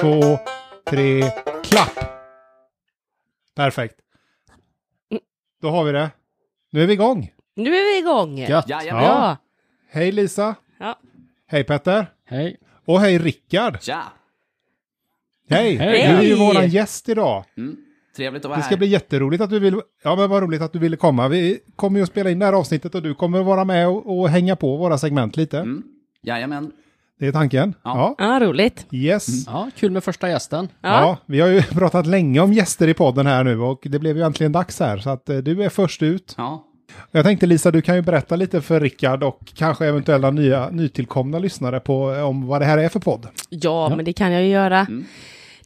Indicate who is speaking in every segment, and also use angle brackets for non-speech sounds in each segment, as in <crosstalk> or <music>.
Speaker 1: två, tre, klapp! Perfekt.
Speaker 2: Mm.
Speaker 1: Då har vi det. Nu är vi igång.
Speaker 2: Nu är vi igång!
Speaker 3: Gött.
Speaker 1: Ja.
Speaker 3: Jajamän.
Speaker 2: Ja.
Speaker 1: Hej Lisa.
Speaker 2: Ja.
Speaker 1: Hej Petter.
Speaker 3: Hej.
Speaker 1: Och hej Rickard.
Speaker 3: Tja.
Speaker 1: Hej!
Speaker 3: Hej.
Speaker 1: Du är ju
Speaker 2: Hej.
Speaker 1: våran gäst idag.
Speaker 3: Trevligt att vara
Speaker 1: Det
Speaker 3: här.
Speaker 1: ska bli jätteroligt att du vill... Ja, men vad roligt att du ville komma. Vi kommer ju att spela in det här avsnittet och du kommer att vara med och, och hänga på våra segment lite.
Speaker 3: Jajamän.
Speaker 1: Det är tanken. Ja.
Speaker 3: Mm. Ja. Mm.
Speaker 2: Ja, roligt.
Speaker 1: Yes.
Speaker 3: Ja, kul med första gästen.
Speaker 1: Ja.
Speaker 2: Ja.
Speaker 1: vi har ju <laughs> pratat länge om gäster i podden här nu och det blev ju äntligen dags här så att eh, du är först ut.
Speaker 3: Ja.
Speaker 1: Jag tänkte Lisa, du kan ju berätta lite för Rickard och kanske eventuella nya, nytillkomna lyssnare på, eh, om vad det här är för podd.
Speaker 2: Ja, men det kan jag ju göra.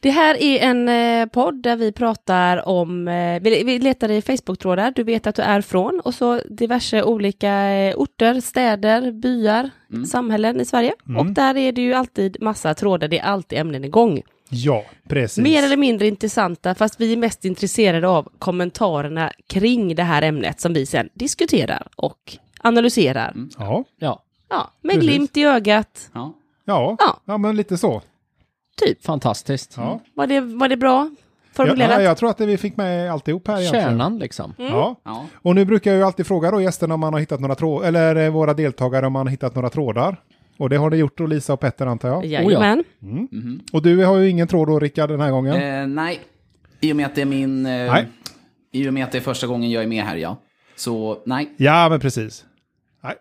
Speaker 2: Det här är en eh, podd där vi pratar om, eh, vi, vi letar i Facebook-trådar, du vet att du är från, och så diverse olika eh, orter, städer, byar, samhällen i Sverige. Och där är det ju alltid massa trådar, det är alltid ämnen igång.
Speaker 1: Ja, precis.
Speaker 2: Mer eller mindre intressanta, fast vi är mest intresserade av kommentarerna kring det här ämnet som vi sen diskuterar och analyserar.
Speaker 1: Ja,
Speaker 3: Ja,
Speaker 2: Ja, med
Speaker 1: Mm. Precis.
Speaker 2: glimt i ögat.
Speaker 3: ja.
Speaker 1: ja, ja.
Speaker 2: Ja.
Speaker 1: men lite så.
Speaker 3: fantastiskt.
Speaker 1: Ja.
Speaker 2: Var det, var det bra
Speaker 1: Jag,
Speaker 2: formulerat?
Speaker 1: ja, jag tror att det vi fick med alltihop här egentligen.
Speaker 3: Kärnan liksom.
Speaker 1: Ja.
Speaker 3: Ja.
Speaker 1: Och nu brukar jag ju alltid fråga då gästerna om man har hittat några trådar, eller eh, våra deltagare om man har hittat några trådar. Och det har det gjort då Lisa och Petter antar jag.
Speaker 2: Jajamän.
Speaker 1: Och du har ju ingen tråd då Rickard den här gången.
Speaker 3: Eh, nej, i och med att det är min... Eh,
Speaker 1: Nej.
Speaker 3: I och med att det är första gången jag är med här, ja. Så, nej.
Speaker 1: Ja, men precis. Nej,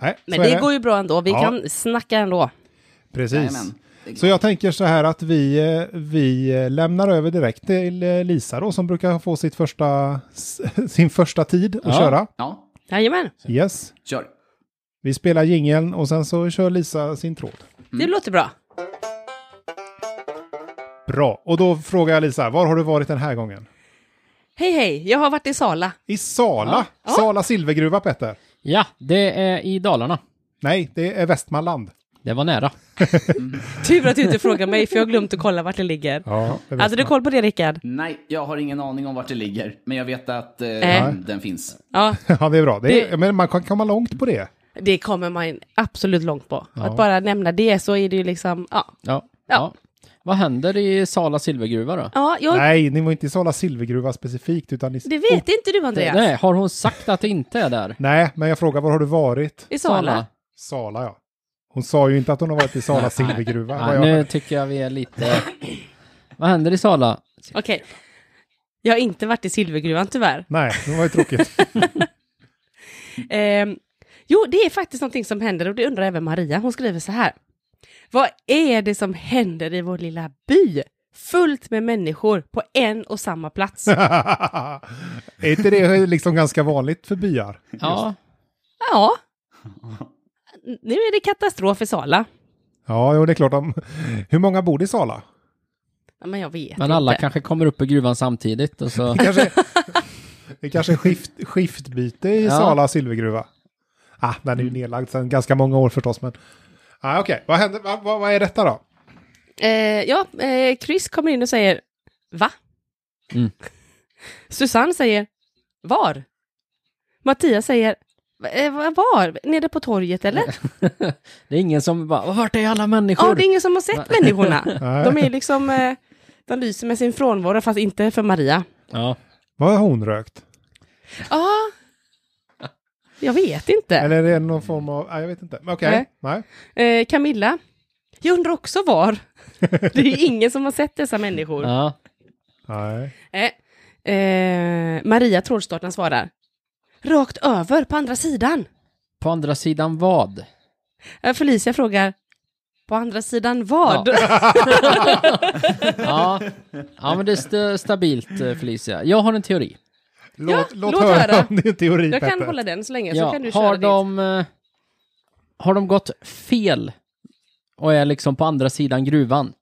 Speaker 1: Nej
Speaker 2: Men
Speaker 1: så
Speaker 2: det,
Speaker 1: är
Speaker 2: går ju bra ändå. Vi
Speaker 1: Ja.
Speaker 2: kan snacka ändå.
Speaker 1: Precis.
Speaker 3: Jajamän.
Speaker 1: Så jag tänker så här att vi, eh, vi eh, lämnar över direkt till eh, Lisa då som brukar få sitt första, s- <laughs> sin första tid att
Speaker 3: Ja.
Speaker 1: köra.
Speaker 3: Ja,
Speaker 2: Jajamän.
Speaker 1: Yes.
Speaker 3: kör.
Speaker 1: Vi spelar jingeln och sen så kör Lisa sin tråd.
Speaker 2: Det låter bra.
Speaker 1: Bra. Och då frågar jag Lisa, var har du varit den här gången?
Speaker 2: Hej, hej. Jag har varit i Sala.
Speaker 1: I Sala. Sala silvergruva Petter.
Speaker 4: Ja, det är i Dalarna.
Speaker 1: Nej, det är Västmanland.
Speaker 4: Det var nära.
Speaker 2: Tur att du inte frågar mig, för jag har glömt att kolla vart det ligger.
Speaker 1: Ja, det är
Speaker 2: Alltså, du har koll på det, Rickard?
Speaker 3: Nej, jag har ingen aning om vart det ligger. Men jag vet att eh,
Speaker 2: Nej.
Speaker 3: den finns.
Speaker 2: Ja,
Speaker 1: Västmanland. <laughs> ja, det är bra. Det är, men man kan komma långt på det.
Speaker 2: det kommer man absolut långt på. Att bara nämna det så är det ju liksom, ja.
Speaker 4: Ja. ja. Vad händer i Sala silvergruva då?
Speaker 2: Ja, jag,
Speaker 1: Nej, Oh. ni var inte i Sala silvergruva specifikt utan i...
Speaker 2: det vet inte du, Andreas.
Speaker 4: Nej, har hon sagt att det inte är där?
Speaker 1: Nej, men jag frågar var har du varit?
Speaker 2: I Sala.
Speaker 1: Sala, ja. Hon sa ju inte att hon har varit i Sala silvergruva.
Speaker 4: <laughs>
Speaker 1: vad
Speaker 4: Nej,
Speaker 1: jag-
Speaker 4: nu tycker jag vi är lite... Vad händer i Sala?
Speaker 2: Okej. Jag har inte varit i Silvergruvan, tyvärr.
Speaker 1: Nej, det var ju tråkigt.
Speaker 2: Ehm, jo, det är faktiskt någonting som händer och det undrar även Maria. Hon skriver så här. Vad är det som händer i vår lilla by? Fullt med människor på en och samma plats.
Speaker 1: är inte det liksom ganska vanligt för byar?
Speaker 4: Ja,
Speaker 2: ja. Nu är det katastrof i Sala.
Speaker 1: Ja, jo, det är klart. De... Hur många bor i Sala?
Speaker 2: Ja, Men jag vet
Speaker 4: men alla
Speaker 2: inte.
Speaker 4: kanske kommer upp i gruvan samtidigt
Speaker 2: <laughs>
Speaker 4: och så...
Speaker 1: Det kanske, det kanske är skift, skiftbyte i
Speaker 4: Ja.
Speaker 1: Sala silvergruva. Ah, den är ju nedlagd sedan ganska många år förstås, men... Ah, Okej, vad, händer- vad, vad, vad är detta då?
Speaker 2: Eh, ja, eh, Chris kommer in och säger Va?
Speaker 4: Mm.
Speaker 2: <laughs> Susanne säger Var? Mattias säger "Eh, va- Var? Nere på torget eller?
Speaker 4: Det är ingen som bara, vart är alla
Speaker 2: Ja,
Speaker 4: människor?
Speaker 2: det är ingen som har sett
Speaker 4: <laughs>
Speaker 2: människorna.
Speaker 1: Nej.
Speaker 2: De är liksom, eh, de lyser med sin frånvaro, fast inte för Maria.
Speaker 4: Ja,
Speaker 1: Vad har hon rökt?
Speaker 2: Ja, jag vet inte.
Speaker 1: Eller är det någon form av... Nej, jag vet inte. Men Okej,
Speaker 2: Nej.
Speaker 1: nej.
Speaker 2: Eh, Camilla, jag undrar också
Speaker 4: <laughs>
Speaker 2: var. Det är ju ingen som har sett dessa människor.
Speaker 4: ja.
Speaker 1: nej.
Speaker 2: Eh, eh, Maria Trådstartaren svarar, rakt över på andra sidan.
Speaker 4: På andra sidan vad?
Speaker 2: Eh, Felicia frågar, på andra sidan vad?
Speaker 4: <laughs> Ja, ja men det är st- stabilt eh, Felicia. Jag har en teori.
Speaker 1: Låt, låt,
Speaker 2: låt
Speaker 1: höra, <laughs>
Speaker 2: höra.
Speaker 1: om din teori,
Speaker 2: Jag kan
Speaker 1: Petter.
Speaker 2: hålla den så länge, så
Speaker 4: Ja,
Speaker 2: kan du köra
Speaker 4: har,
Speaker 2: ditt.
Speaker 4: de, eh, har de gått fel och är liksom på andra sidan gruvan?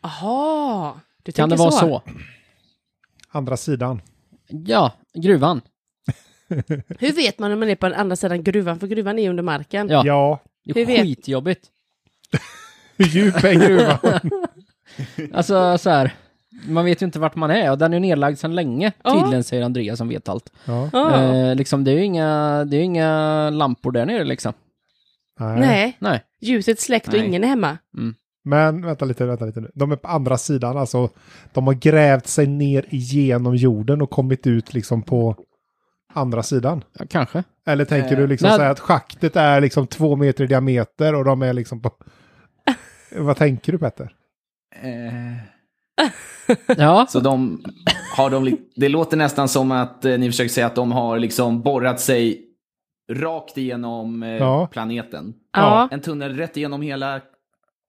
Speaker 2: Aha, du
Speaker 4: Kan det
Speaker 2: tänker
Speaker 4: vara så?
Speaker 1: Andra sidan.
Speaker 4: Ja, gruvan.
Speaker 2: Hur vet man om man är på den andra sidan gruvan? För gruvan är ju under marken.
Speaker 4: Ja,
Speaker 1: Ja,
Speaker 4: det
Speaker 2: Hur
Speaker 4: är
Speaker 2: vet-
Speaker 4: skitjobbigt.
Speaker 1: hur djup är gruvan?
Speaker 4: Alltså så här, man vet ju inte vart man är och den är ju nedlagd sedan länge,
Speaker 2: Ja.
Speaker 4: tydligen säger Andreas som vet allt.
Speaker 1: <laughs> ja,
Speaker 2: Ah.
Speaker 4: Eh, liksom, det är ju inga, det är ju inga lampor där nere liksom.
Speaker 1: nej.
Speaker 2: Nej,
Speaker 4: Nej.
Speaker 2: ljuset släckt och
Speaker 3: Nej.
Speaker 2: ingen är hemma.
Speaker 1: Men vänta lite, vänta lite nu. De är på andra sidan, alltså. De har grävt sig ner igenom jorden och kommit ut liksom på andra sidan.
Speaker 4: Ja, kanske.
Speaker 1: Eller tänker
Speaker 3: Eh,
Speaker 1: du liksom
Speaker 4: nej.
Speaker 1: säga att schaktet är liksom två meter i diameter och de är liksom
Speaker 4: <laughs>
Speaker 1: på... Vad tänker du Petter? <laughs>
Speaker 3: Eh,
Speaker 4: Ja,
Speaker 3: Så de har de, li- det låter nästan som att eh, ni försöker säga att de har liksom borrat sig rakt igenom eh,
Speaker 1: Ja.
Speaker 3: planeten.
Speaker 1: Ja.
Speaker 2: Ja.
Speaker 3: En tunnel rätt igenom hela,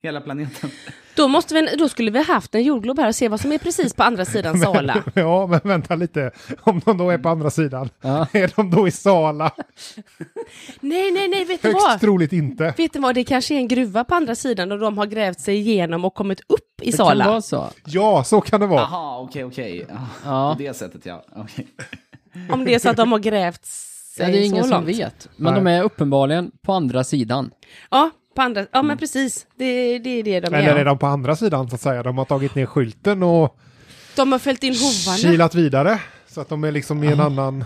Speaker 3: hela planeten.
Speaker 2: Då, måste vi, då skulle vi haft en jordglob här och se vad som är precis på andra sidan
Speaker 4: <laughs>
Speaker 2: Sala.
Speaker 1: ja, men vänta lite. Om de då är på andra sidan,
Speaker 4: Ja.
Speaker 1: <laughs> är de då i Sala?
Speaker 2: nej, nej, nej, vet du
Speaker 1: Högst
Speaker 2: vad?
Speaker 1: troligt inte.
Speaker 2: Vet du vad, det kanske är en gruva på andra sidan och de har grävt sig igenom och kommit upp i <laughs>
Speaker 4: det kan
Speaker 2: Sala.
Speaker 4: vara så.
Speaker 1: Ja, så kan det vara.
Speaker 3: Aha, okej, okej. Ja,
Speaker 4: Ja.
Speaker 3: På det sättet, ja. Okej.
Speaker 2: Om det är så att de har grävt sig
Speaker 4: <laughs> Ja, det är ingen
Speaker 2: så
Speaker 4: som
Speaker 2: långt.
Speaker 4: vet. Men
Speaker 1: Nej.
Speaker 4: de är uppenbarligen på andra sidan.
Speaker 2: Ja, på andra, ja
Speaker 4: Mm.
Speaker 2: men precis. Det, det är det de
Speaker 1: Eller är
Speaker 2: är.
Speaker 1: de på andra sidan så att säga? De har tagit ner skylten och
Speaker 2: De har följt in hovarna.
Speaker 1: kilat vidare. Så att de är liksom i en annan...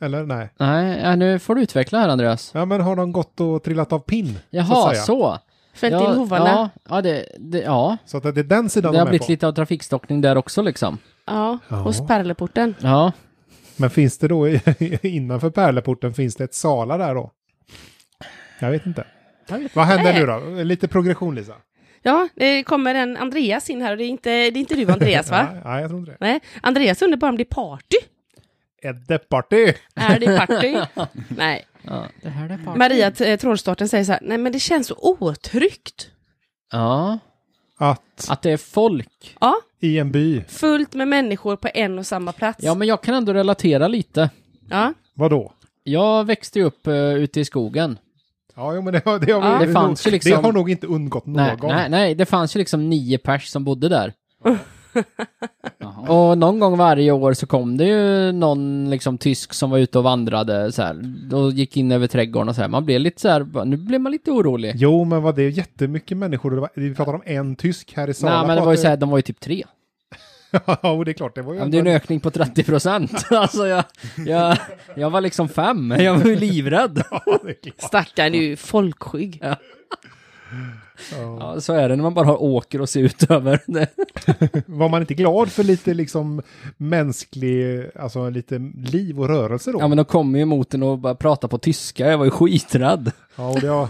Speaker 1: Eller nej.
Speaker 4: Nej, ja, nu får du utveckla här Andreas.
Speaker 1: Ja, men har de gått och trillat av pinn? så.
Speaker 4: Jaha,
Speaker 1: att
Speaker 4: så.
Speaker 1: säga?
Speaker 2: Följt
Speaker 4: ja,
Speaker 2: in hovarna.
Speaker 4: Ja, ja, det, det, ja.
Speaker 1: Så att det är den sidan
Speaker 4: det har
Speaker 1: de är
Speaker 4: blivit
Speaker 1: på.
Speaker 4: lite av trafikstockning där också liksom.
Speaker 2: Ja,
Speaker 1: Ja.
Speaker 2: hos pärleporten.
Speaker 4: Ja,
Speaker 1: Men finns det då i- <laughs> innanför pärleporten, finns det ett Sala där då? Jag vet inte. Vad händer
Speaker 2: Nej.
Speaker 1: nu då? Lite progression Lisa?
Speaker 2: Ja, det kommer en Andreas in här och det är inte, det är inte du Andreas
Speaker 4: <laughs>
Speaker 2: va?
Speaker 1: Nej, nej, jag tror inte det.
Speaker 2: Nej, Andreas undrar bara om det är party.
Speaker 1: Edde party!
Speaker 2: Är det party? Nej.
Speaker 4: ja det här är part.
Speaker 2: Maria t- eh, Trollstarten säger så här, nej men det känns så otryggt.
Speaker 4: Ja,
Speaker 1: Att
Speaker 4: att det är folk.
Speaker 2: Ja,
Speaker 1: i en by,
Speaker 2: fullt med människor på en och samma plats.
Speaker 4: Ja,
Speaker 2: Ja,
Speaker 4: men jag kan ändå relatera lite.
Speaker 1: vadå?
Speaker 4: Jag växte ju upp uh, ute i skogen.
Speaker 1: Ja, jo, men det, har- det, har,
Speaker 2: Ja.
Speaker 1: vi-
Speaker 4: Det fanns ju
Speaker 1: nog-
Speaker 4: liksom-
Speaker 1: det har nog inte undgått
Speaker 4: Nej,
Speaker 1: någon.
Speaker 4: nej, nej, det fanns ju liksom nio pers som bodde <laughs> där.
Speaker 3: Jaha.
Speaker 4: Och någon gång varje år så kom det ju någon liksom tysk som var ute och vandrade så här. Och gick in över trädgården och så här. Man blev lite så här, bara, nu blev man lite orolig.
Speaker 1: Jo, men vad det är jättemycket människor. Det var, vi pratar om en tysk här i Sala.
Speaker 4: Nej, men det var ju så här, de var ju typ tre.
Speaker 1: <laughs> ja, och det är klart, det var ju...
Speaker 4: Ja, men det är en ökning på 30 procent. <laughs> Alltså jag, jag, jag var liksom fem, jag var ju livrädd.
Speaker 1: Ja, <laughs> det är klart.
Speaker 2: Stackarn är ju folkskygg.
Speaker 4: Ja, så är det när man bara har åker och ser ut <laughs> över. Det.
Speaker 1: Var man inte glad för lite liksom mänsklig, alltså lite liv och rörelse då?
Speaker 4: Ja, men de kom ju emot en och bara pratade på tyska, jag var ju skiträdd.
Speaker 1: Ja, och det har,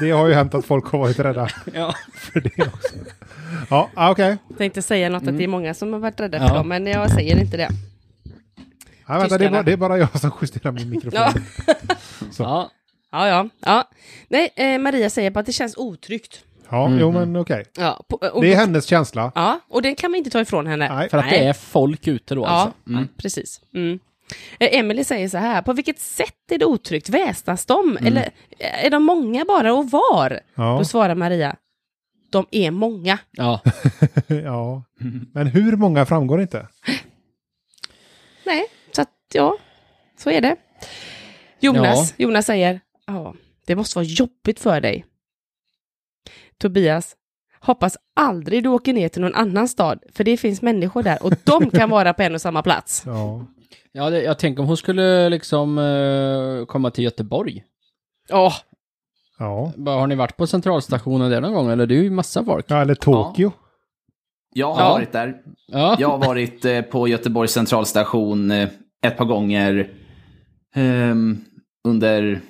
Speaker 1: det har ju hänt att folk har varit rädda
Speaker 4: Ja.
Speaker 1: för det också. Ja, ah, okej.
Speaker 2: Jag tänkte säga något att det är många som har varit rädda
Speaker 4: Ja.
Speaker 2: för dem, men jag säger inte det.
Speaker 1: Nej, vänta, det är,
Speaker 2: Tyskarna.
Speaker 1: bara, det är bara jag som justerar min mikrofon.
Speaker 2: Ja.
Speaker 4: Ja,
Speaker 2: Ja, ja, ja. Nej, eh, Maria säger bara att det känns otryggt.
Speaker 1: Ja, jo men okej.
Speaker 2: Ja, på, eh, och,
Speaker 1: Det är hennes känsla.
Speaker 2: ja, och den kan vi inte ta ifrån henne.
Speaker 1: Nej.
Speaker 4: för att det är folk ute då alltså.
Speaker 2: Ja, precis. Mm. Eh, Emily säger så här, på vilket sätt är det otryggt? Väsnas de? Eller eh, är de många bara och var?
Speaker 1: Ja.
Speaker 2: Då svarar Maria, de är många.
Speaker 4: Ja.
Speaker 1: <laughs> ja. Men hur många framgår inte?
Speaker 2: Nej, så att ja, så är det. Jonas, Jonas säger, ja, det måste vara jobbigt för dig. Tobias, hoppas aldrig du åker ner till någon annan stad, för det finns människor där och
Speaker 4: <laughs>
Speaker 2: de kan vara på en och samma plats.
Speaker 1: Ja.
Speaker 4: Ja, det, jag tänker om hon skulle liksom eh, komma till Göteborg.
Speaker 2: Ja,
Speaker 1: Ja.
Speaker 4: Bara, har ni varit på centralstationen där någon gång? Eller det är ju massa folk.
Speaker 1: ja eller Tokyo.
Speaker 3: Jag har
Speaker 4: Ja.
Speaker 3: varit där.
Speaker 4: Ja,
Speaker 3: Jag har varit eh, på Göteborgs centralstation eh, ett par gånger ehm, under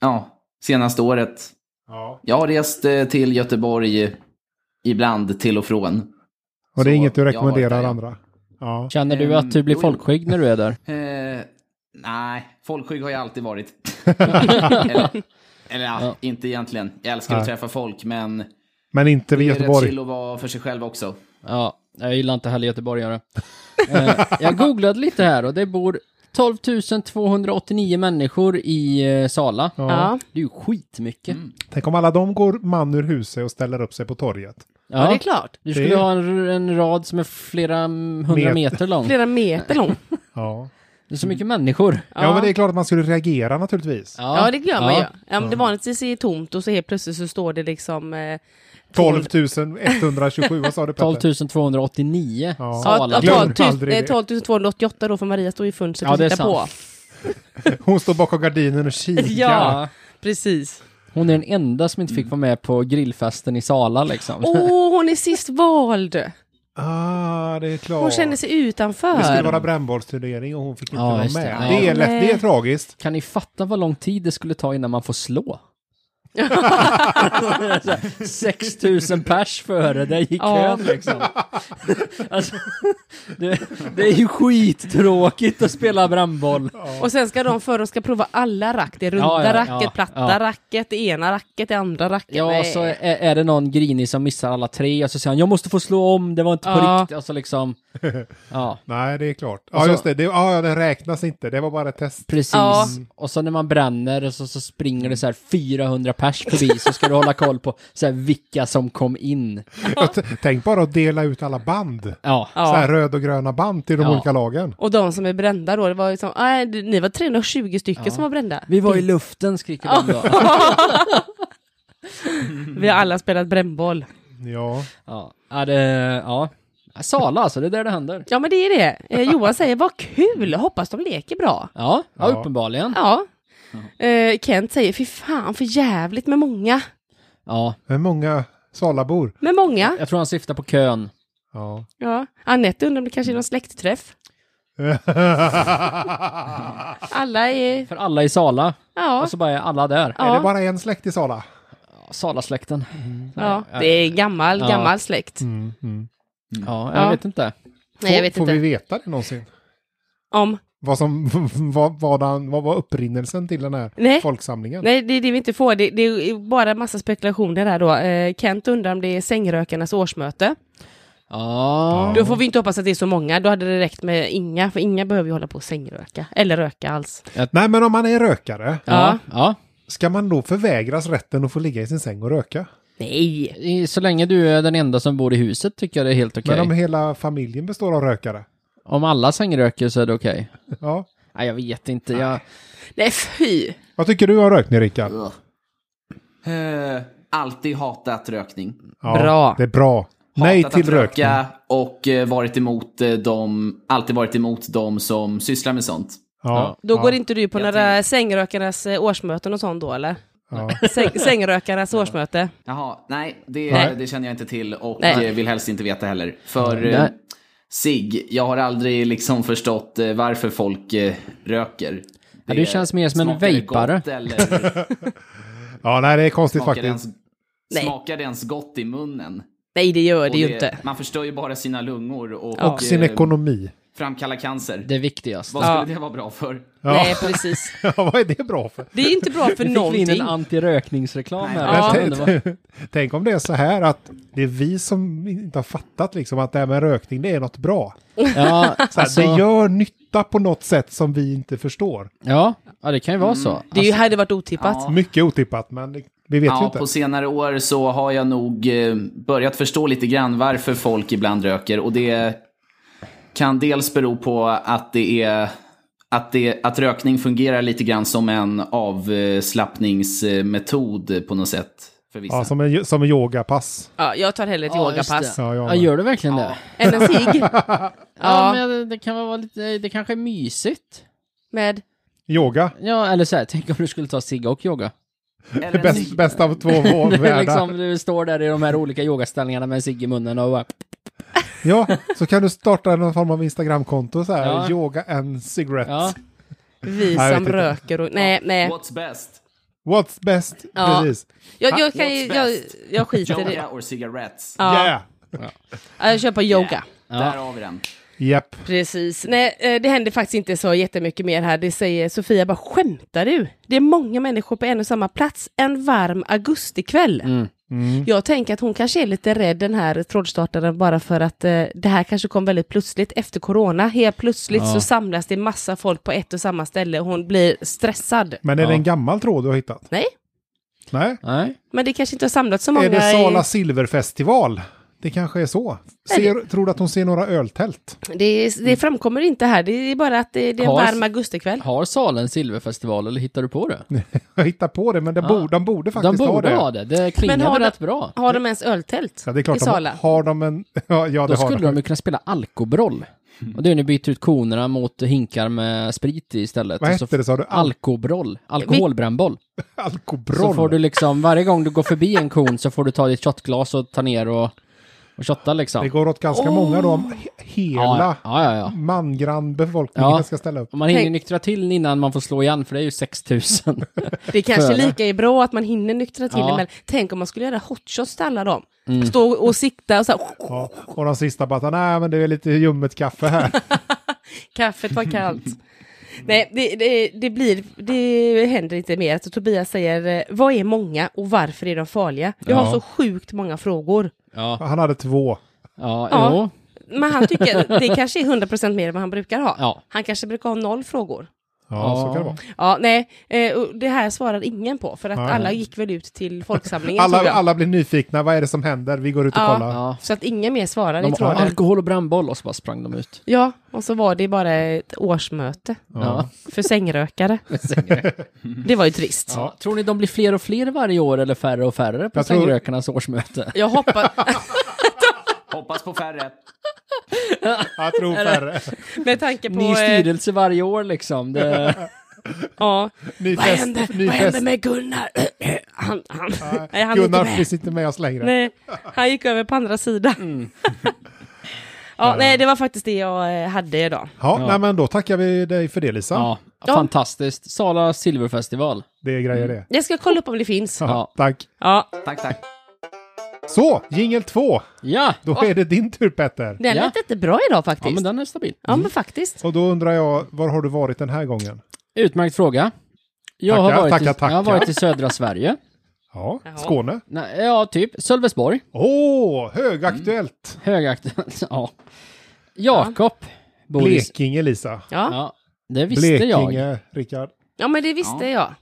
Speaker 3: ja, senaste året.
Speaker 1: Ja.
Speaker 3: Jag har rest eh, till Göteborg eh, ibland till och från.
Speaker 1: Och det är
Speaker 3: Så,
Speaker 1: inget du
Speaker 3: jag har varit
Speaker 1: rekommenderar
Speaker 3: där, ja.
Speaker 1: andra? Ja.
Speaker 4: Känner du att du blir
Speaker 3: jo, jo.
Speaker 4: folkskygg när du är där?
Speaker 3: Eh, nej, folkskygg har jag alltid varit. eller eller ja, inte egentligen. Jag älskar att
Speaker 1: Nej.
Speaker 3: träffa folk, men
Speaker 1: Men inte vid
Speaker 3: det är rätt
Speaker 1: Göteborg?
Speaker 3: chill att vara för sig själv också.
Speaker 4: Ja, jag gillar inte heller göteborgare. Eh, jag googlade lite här och det bor 12 289 människor i eh, Sala.
Speaker 1: Ja.
Speaker 2: ja.
Speaker 4: Det är ju skitmycket.
Speaker 3: Mm.
Speaker 1: Tänk om alla de går man ur huset och ställer upp sig på torget.
Speaker 2: ja, det är
Speaker 4: Ja,
Speaker 2: klart.
Speaker 4: du skulle
Speaker 1: Det är-
Speaker 4: ha en, en rad som är flera mm, hundra
Speaker 1: Meter.
Speaker 4: meter lång.
Speaker 2: Flera meter lång.
Speaker 1: Ja.
Speaker 4: Det är så mycket människor.
Speaker 1: Ja. men det är klart att man skulle reagera naturligtvis.
Speaker 2: Ja, det gör man
Speaker 4: ja.
Speaker 2: ju. Ja, men det vanligtvis är det tomt och så helt plötsligt så står det liksom... Eh,
Speaker 1: 12 127, vad sa du Petter? <laughs>
Speaker 4: 12 289
Speaker 1: Ja.
Speaker 2: ja,
Speaker 4: Sala.
Speaker 1: Glöm
Speaker 2: ja, 12,
Speaker 1: aldrig det.
Speaker 2: eh, 12 288 då, för Maria står ju i fönstret
Speaker 4: Ja,
Speaker 2: och
Speaker 4: det är
Speaker 2: tittar på.
Speaker 4: sant.
Speaker 1: Hon står bakom gardinen och kikar.
Speaker 2: Ja. Precis.
Speaker 4: Hon är den enda som inte fick vara med på grillfesten i Sala liksom.
Speaker 2: Åh,
Speaker 4: <laughs>
Speaker 2: hon är sist vald!
Speaker 1: Ah, det är klart.
Speaker 2: Hon känner sig
Speaker 1: Det skulle
Speaker 2: utanför.
Speaker 1: vara brännbollsturnering och hon fick inte
Speaker 4: Ja,
Speaker 1: vara
Speaker 4: just
Speaker 1: med.
Speaker 4: det.
Speaker 1: Det,
Speaker 4: Ja.
Speaker 1: är lätt, det är
Speaker 2: Nej.
Speaker 1: tragiskt.
Speaker 4: Kan ni fatta vad lång tid det skulle ta innan man
Speaker 2: <laughs>
Speaker 4: får slå? 6000 pers före dig i
Speaker 2: Ja.
Speaker 4: kön liksom. Alltså, det, det är ju skittråkigt att spela brandboll.
Speaker 2: Och sen ska de för de ska prova alla rack. Det är runda
Speaker 4: Ja, ja, ja,
Speaker 2: racket, platta
Speaker 4: ja.
Speaker 2: racket, det ena racket, det andra racket.
Speaker 4: Ja,
Speaker 2: Nej.
Speaker 4: så är, är det någon grinig som missar alla tre och så säger han jag måste få slå om, det var inte på
Speaker 2: Ja.
Speaker 4: riktigt. Alltså liksom, ja.
Speaker 1: Nej, det är klart. Ja,
Speaker 4: Och så-
Speaker 1: just det. det ja, ja, den räknas inte. Det var bara ett test.
Speaker 4: Precis.
Speaker 2: Ja.
Speaker 4: Och så när man bränner så, så springer det så här 400 pers förbi så ska du hålla koll på så här vilka som kom in.
Speaker 1: Tänk bara att dela ut alla band.
Speaker 4: Ja.
Speaker 1: Så här
Speaker 2: ja.
Speaker 1: röd och gröna band till de
Speaker 4: Ja.
Speaker 1: olika lagen.
Speaker 2: Och de som är brända då, det var liksom, nej, du- ni var 320 stycken som var brända.
Speaker 4: Vi var i luften skriker de då.
Speaker 2: Vi har alla spelat brännboll.
Speaker 1: Ja.
Speaker 4: Ja. Ja, det, ja. Sala alltså, det är där det händer.
Speaker 2: Ja, men det är det. Eh, Johan säger, vad kul, hoppas de leker bra.
Speaker 4: Ja, ja,
Speaker 1: Ja.
Speaker 4: uppenbarligen.
Speaker 2: Ja. Eh, Kent säger, fy fan för jävligt med många.
Speaker 4: Ja,
Speaker 1: Men många Salabor.
Speaker 2: Med många.
Speaker 4: jag tror han syftar på kön.
Speaker 1: Ja. <laughs>
Speaker 2: Ja. Anette undrar om det kanske är någon släktträff. Alla är,
Speaker 4: För alla i Sala.
Speaker 2: ja.
Speaker 4: Och så bara är alla där.
Speaker 1: Är det
Speaker 2: Ja,
Speaker 1: bara en släkt i Sala?
Speaker 4: Sala-släkten.
Speaker 2: ja. det är gammal,
Speaker 4: Ja.
Speaker 2: gammal släkt.
Speaker 1: Mm, mm.
Speaker 4: Ja, jag
Speaker 2: Ja.
Speaker 4: vet inte.
Speaker 2: Nej, jag vet
Speaker 1: Får
Speaker 2: inte.
Speaker 1: vi veta det någonsin?
Speaker 2: Om.
Speaker 1: Vad, som, <laughs> vad, vad, den, vad var upprinnelsen till den här
Speaker 2: Nej.
Speaker 1: folksamlingen?
Speaker 2: Nej, det är det vi inte får. Det, det är bara massa spekulationer där då. Eh, Kent undrar om det är sängrökarnas årsmöte.
Speaker 4: Ja.
Speaker 2: Då får vi inte hoppas att det är så många. Då hade det räckt med inga, för inga behöver ju hålla på och sängröka. Eller röka alls.
Speaker 1: Nej, men om man är rökare,
Speaker 4: Ja. ja.
Speaker 1: ska man då förvägras rätten att få ligga i sin säng och röka?
Speaker 2: Nej.
Speaker 4: I- Så länge du är den enda som bor i huset tycker jag det är helt okej.
Speaker 1: Men om hela familjen består av rökare?
Speaker 4: Om alla sängröker så är det okej.
Speaker 1: Ja.
Speaker 4: Nej, jag vet inte. Jag...
Speaker 2: Nej, fy.
Speaker 1: Vad tycker du om rökning, Rickard?
Speaker 3: Eh, alltid hatat rökning.
Speaker 1: Ja,
Speaker 2: Bra.
Speaker 1: Det är bra. Nej
Speaker 3: Hatat
Speaker 1: till
Speaker 3: att
Speaker 1: rökning.
Speaker 3: röka och eh, varit emot eh, dem, alltid varit emot dem som sysslar med sånt.
Speaker 1: Ja,
Speaker 2: Då
Speaker 1: ja,
Speaker 2: går inte du på
Speaker 3: Jag
Speaker 2: några sängrökarnas eh, årsmöten och sånt då, eller?
Speaker 1: ja.
Speaker 2: Säng, sängrökarnas årsmöte.
Speaker 3: Jaha, nej det,
Speaker 1: Nej.
Speaker 3: det känner jag inte till och
Speaker 2: Nej.
Speaker 3: eh, vill helst inte veta heller. För
Speaker 4: Nej.
Speaker 3: eh, sig, jag har aldrig liksom förstått eh, varför folk eh, röker.
Speaker 4: Ja, du känns mer som en
Speaker 3: smakar det
Speaker 4: vejpare.
Speaker 3: gott eller
Speaker 1: ja, nej, det är konstigt
Speaker 3: Smakar det,
Speaker 1: faktiskt.
Speaker 3: ens, smakar det ens gott i munnen?
Speaker 2: Nej, det gör det
Speaker 3: Och
Speaker 2: ju
Speaker 3: det-
Speaker 2: inte.
Speaker 3: Man förstör ju bara sina lungor och,
Speaker 2: Ja.
Speaker 1: Och sin
Speaker 3: eh,
Speaker 1: ekonomi. <laughs>
Speaker 3: framkallar cancer.
Speaker 4: Det viktigaste.
Speaker 3: Vad skulle det vara bra för?
Speaker 1: Ja.
Speaker 2: Nej, precis.
Speaker 1: Ja, vad är det bra för?
Speaker 2: Det är inte bra för
Speaker 4: Nu fick vi in
Speaker 2: någonting.
Speaker 4: en antirökningsreklam här.
Speaker 3: Nej.
Speaker 4: Ja.
Speaker 1: Men
Speaker 4: det var-
Speaker 1: tänk- <laughs> Tänk om det är så här att det är vi som inte har fattat liksom att det här med rökning, det är något bra.
Speaker 4: <laughs> Ja,
Speaker 1: Så här,
Speaker 4: alltså,
Speaker 1: Det gör nytta på något sätt som vi inte förstår.
Speaker 4: ja, ja, det kan ju vara så.
Speaker 2: Mm.
Speaker 4: Alltså,
Speaker 2: Det är ju- hade varit otippat.
Speaker 3: Ja.
Speaker 1: Mycket otippat, men det- vi vet ju
Speaker 3: Ja,
Speaker 1: inte.
Speaker 3: på senare år så har jag nog eh, börjat förstå lite grann varför folk ibland röker. Och det kan dels bero på att det är att, det, att rökning fungerar lite grann som en avslappningsmetod på något sätt. För vissa.
Speaker 1: Ja, som en, som en yogapass.
Speaker 2: Ja, jag tar hellre ett
Speaker 4: Ja, just
Speaker 2: yogapass.
Speaker 4: det.
Speaker 1: Ja, jag
Speaker 4: Ja,
Speaker 1: med.
Speaker 4: gör du verkligen det?
Speaker 2: Än en cigg.
Speaker 4: <laughs> Ja,
Speaker 2: Ja.
Speaker 4: men det- det kan väl vara lite, det kanske är mysigt.
Speaker 2: Med...
Speaker 1: Yoga,
Speaker 4: Ja, eller så här, <laughs> tänk om du skulle ta cigg och <laughs> yoga.
Speaker 3: Eller
Speaker 1: det
Speaker 3: en
Speaker 1: bäst,
Speaker 3: cigg.
Speaker 1: bästa
Speaker 4: <laughs>
Speaker 1: av två
Speaker 4: Det är
Speaker 1: världar.
Speaker 4: liksom, du står där i de här olika yogaställningarna med en cigg i munnen och bara,
Speaker 1: Ja, så kan du starta någon form av Instagramkonto så här,
Speaker 4: Ja.
Speaker 1: yoga and cigarettes.
Speaker 4: ja,
Speaker 2: Vi
Speaker 1: Nej, jag
Speaker 2: som
Speaker 1: vet inte.
Speaker 2: röker och... Nej, nej.
Speaker 3: What's best?
Speaker 1: What's best?
Speaker 2: Ja.
Speaker 1: Precis.
Speaker 2: Jag, jag, kan, ju-
Speaker 3: What's
Speaker 2: jag,
Speaker 3: best?
Speaker 2: jag skiter i
Speaker 3: Yoga
Speaker 2: det.
Speaker 3: or cigarettes? Äh,
Speaker 2: Ja.
Speaker 1: Yeah!
Speaker 2: Ja, Jag kör på yoga.
Speaker 3: Där har vi den.
Speaker 1: Japp.
Speaker 2: Precis. Nej, eh, det händer faktiskt inte så jättemycket mer här. Det säger Sofia bara, skämtar du? Det är många människor på en och samma plats en varm augustikväll.
Speaker 1: Mm.
Speaker 2: Jag tänker att hon kanske är lite rädd den här trådstartaren bara för att eh, det här kanske kom väldigt plötsligt efter corona. Helt plötsligt så samlas det massa folk på ett och samma ställe och hon blir stressad.
Speaker 1: Men är det
Speaker 4: Ja.
Speaker 1: en gammal tråd du har hittat?
Speaker 2: Nej,
Speaker 1: Nej.
Speaker 4: nej.
Speaker 2: men det kanske inte har samlats så många.
Speaker 1: Är det
Speaker 2: i-
Speaker 1: Sala Silverfestival? Det kanske är så. Ser, tror du att hon ser några öltält?
Speaker 2: Det, det framkommer inte här, det är bara att det, det är en
Speaker 4: Har-
Speaker 2: varm augustikväll.
Speaker 4: Har Salen silverfestival eller hittar du på det?
Speaker 1: Jag hittar på det, men det
Speaker 4: Ja.
Speaker 1: borde, de borde
Speaker 4: De
Speaker 1: faktiskt ha
Speaker 4: borde
Speaker 1: det.
Speaker 4: ha det, det klingar
Speaker 2: Men har
Speaker 4: väl
Speaker 2: de-
Speaker 4: rätt bra.
Speaker 2: Har de ens öltält
Speaker 1: Ja, det är klart,
Speaker 2: i
Speaker 1: de
Speaker 2: Sala?
Speaker 1: har, har de en... <laughs> Ja, ja det
Speaker 4: Då
Speaker 1: har
Speaker 4: skulle de ju kunna spela alkobroll. Och det är när du byter ut konerna mot hinkar med sprit i istället.
Speaker 1: Vad
Speaker 4: Och så
Speaker 1: hette det, sa du? Al-
Speaker 4: Alkobroll. Alkoholbrännboll. Så får
Speaker 1: Alkobroll?
Speaker 4: du liksom, varje gång du går förbi en kon så får du ta ditt shotglas och ta ner och, och shotta liksom.
Speaker 1: Det går åt ganska många då, om he- hela
Speaker 4: ja, ja, ja, ja.
Speaker 1: mangrann befolkningen
Speaker 4: Ja.
Speaker 1: ska ställa upp.
Speaker 4: Och man hinner
Speaker 2: Tänk-
Speaker 4: nyktra till innan man får slå igen för det är
Speaker 1: <laughs>
Speaker 4: ju 6000.
Speaker 2: Det är kanske
Speaker 4: Före.
Speaker 2: lika är bra att man hinner nyktra till
Speaker 4: Ja. Mm.
Speaker 2: det, men tänk om man skulle göra hotshots till alla dem. Stå och sikta och så här, <laughs>
Speaker 1: Ja. Och de sista bara, nej men det är lite ljummet kaffe
Speaker 4: <laughs>
Speaker 1: här.
Speaker 2: kaffet var kallt. Nej, det, det, det, blir, det händer inte mer. Så Tobias säger, eh, vad är många och varför är de farliga? Jag har
Speaker 4: Ja.
Speaker 2: så sjukt många frågor.
Speaker 4: ja,
Speaker 1: Han hade två.
Speaker 4: ja,
Speaker 2: Ja.
Speaker 4: jo.
Speaker 2: Men han tycker det kanske är 100% mer än vad han brukar ha.
Speaker 4: Ja.
Speaker 2: Han kanske brukar ha noll frågor.
Speaker 1: Ja,
Speaker 4: Ja.
Speaker 1: så kan det vara.
Speaker 2: Ja, nej, eh, och det här svarar ingen på för att
Speaker 1: Nej.
Speaker 2: alla gick väl ut till folksamlingen tror
Speaker 1: Alla,
Speaker 2: jag.
Speaker 1: alla blir nyfikna, vad är det som händer? Vi går ut och
Speaker 2: Ja.
Speaker 1: kollar.
Speaker 4: Ja.
Speaker 2: Så att ingen mer svarar i
Speaker 4: De har
Speaker 2: tråden.
Speaker 4: alkohol och brandboll och så bara sprang de ut.
Speaker 2: Ja, och så var det bara ett årsmöte
Speaker 4: Ja. <laughs>
Speaker 2: för sängrökare.
Speaker 4: Mm.
Speaker 2: Det var ju trist.
Speaker 4: Ja. Tror ni de blir fler och fler varje år eller färre och färre på
Speaker 1: Jag tror-
Speaker 4: sängrökarnas årsmöte?
Speaker 2: Jag hoppas,
Speaker 1: <laughs>
Speaker 3: Hoppas på färre.
Speaker 1: Jag tror färre.
Speaker 2: med tanke på...
Speaker 4: Ny
Speaker 2: Eh,
Speaker 4: styrelse varje år
Speaker 2: <laughs>
Speaker 4: liksom. Det...
Speaker 2: ja.
Speaker 1: Ny
Speaker 2: Vad
Speaker 1: fest,
Speaker 2: hände,
Speaker 1: ny
Speaker 2: vad hände
Speaker 1: fest.
Speaker 2: med Gunnar? <clears throat> Han, han, <laughs> nej, han är inte
Speaker 1: Gunnar
Speaker 2: med.
Speaker 1: finns inte med oss längre.
Speaker 2: Nej, han gick över på andra sidan.
Speaker 4: Mm.
Speaker 2: <laughs> ja, nej, det var faktiskt det jag eh, hade idag.
Speaker 1: Ja, Nej, men då tackar vi dig för det Lisa.
Speaker 4: Ja,
Speaker 2: Ja.
Speaker 4: fantastiskt. Sala Silverfestival.
Speaker 1: Det är grejer det.
Speaker 2: Jag ska kolla upp om det finns.
Speaker 1: Ja,
Speaker 4: Mm. Ja.
Speaker 1: tack.
Speaker 2: Ja,
Speaker 3: Tack, tack.
Speaker 1: Så, jingel två.
Speaker 4: Ja!
Speaker 1: Då är det din tur Petter.
Speaker 2: den
Speaker 4: Ja.
Speaker 2: lät inte bra idag faktiskt.
Speaker 4: Ja, men den är stabil.
Speaker 2: faktiskt.
Speaker 1: Och då undrar jag, var har du varit den här gången?
Speaker 4: Utmärkt fråga. Jag,
Speaker 1: Tackar,
Speaker 4: har varit
Speaker 1: tackar,
Speaker 4: i,
Speaker 1: tackar.
Speaker 4: jag har varit i södra Sverige.
Speaker 1: Ja,
Speaker 2: Jaha.
Speaker 1: Skåne.
Speaker 4: Nej, ja, typ. Sölvesborg.
Speaker 1: Åh, högaktuellt!
Speaker 4: Mm. Högaktuellt. <laughs> Ja. Jakob. bor i-
Speaker 1: Blekinge, Lisa.
Speaker 2: Ja, ja.
Speaker 4: Ja, det visste jag.
Speaker 1: Blekinge, Rickard.
Speaker 2: men det visste jag.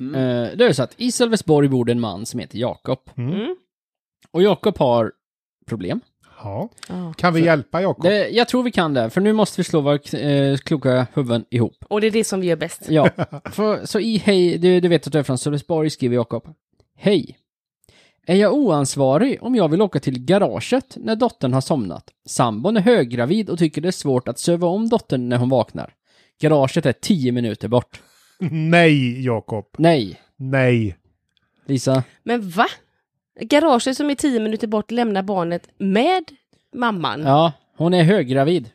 Speaker 4: Eh, Det är så att i Sölvesborg bor det en man som heter Jakob.
Speaker 2: Mm.
Speaker 4: Och Jakob har problem.
Speaker 1: Ja.
Speaker 2: Ja.
Speaker 1: Kan vi hjälpa Jakob?
Speaker 4: Det, jag tror vi kan det, för nu måste vi slå våra eh, kloka huvuden ihop.
Speaker 2: Och det är det som vi gör bäst.
Speaker 4: Ja, <laughs> för, så i hej, du, du vet att du är från Sölvesborg, skriver Jakob. Hej. Är jag oansvarig om jag vill åka till garaget när dottern har somnat? Sambon är höggravid och tycker det är svårt att söva om dottern när hon vaknar. Garaget är tio minuter bort.
Speaker 1: Nej, Jakob.
Speaker 4: Nej,
Speaker 1: Nej.
Speaker 4: Lisa.
Speaker 2: Men va? Garaget som är tio minuter bort lämnar barnet med mamman. Ja.
Speaker 4: Ja, hon är höggravid.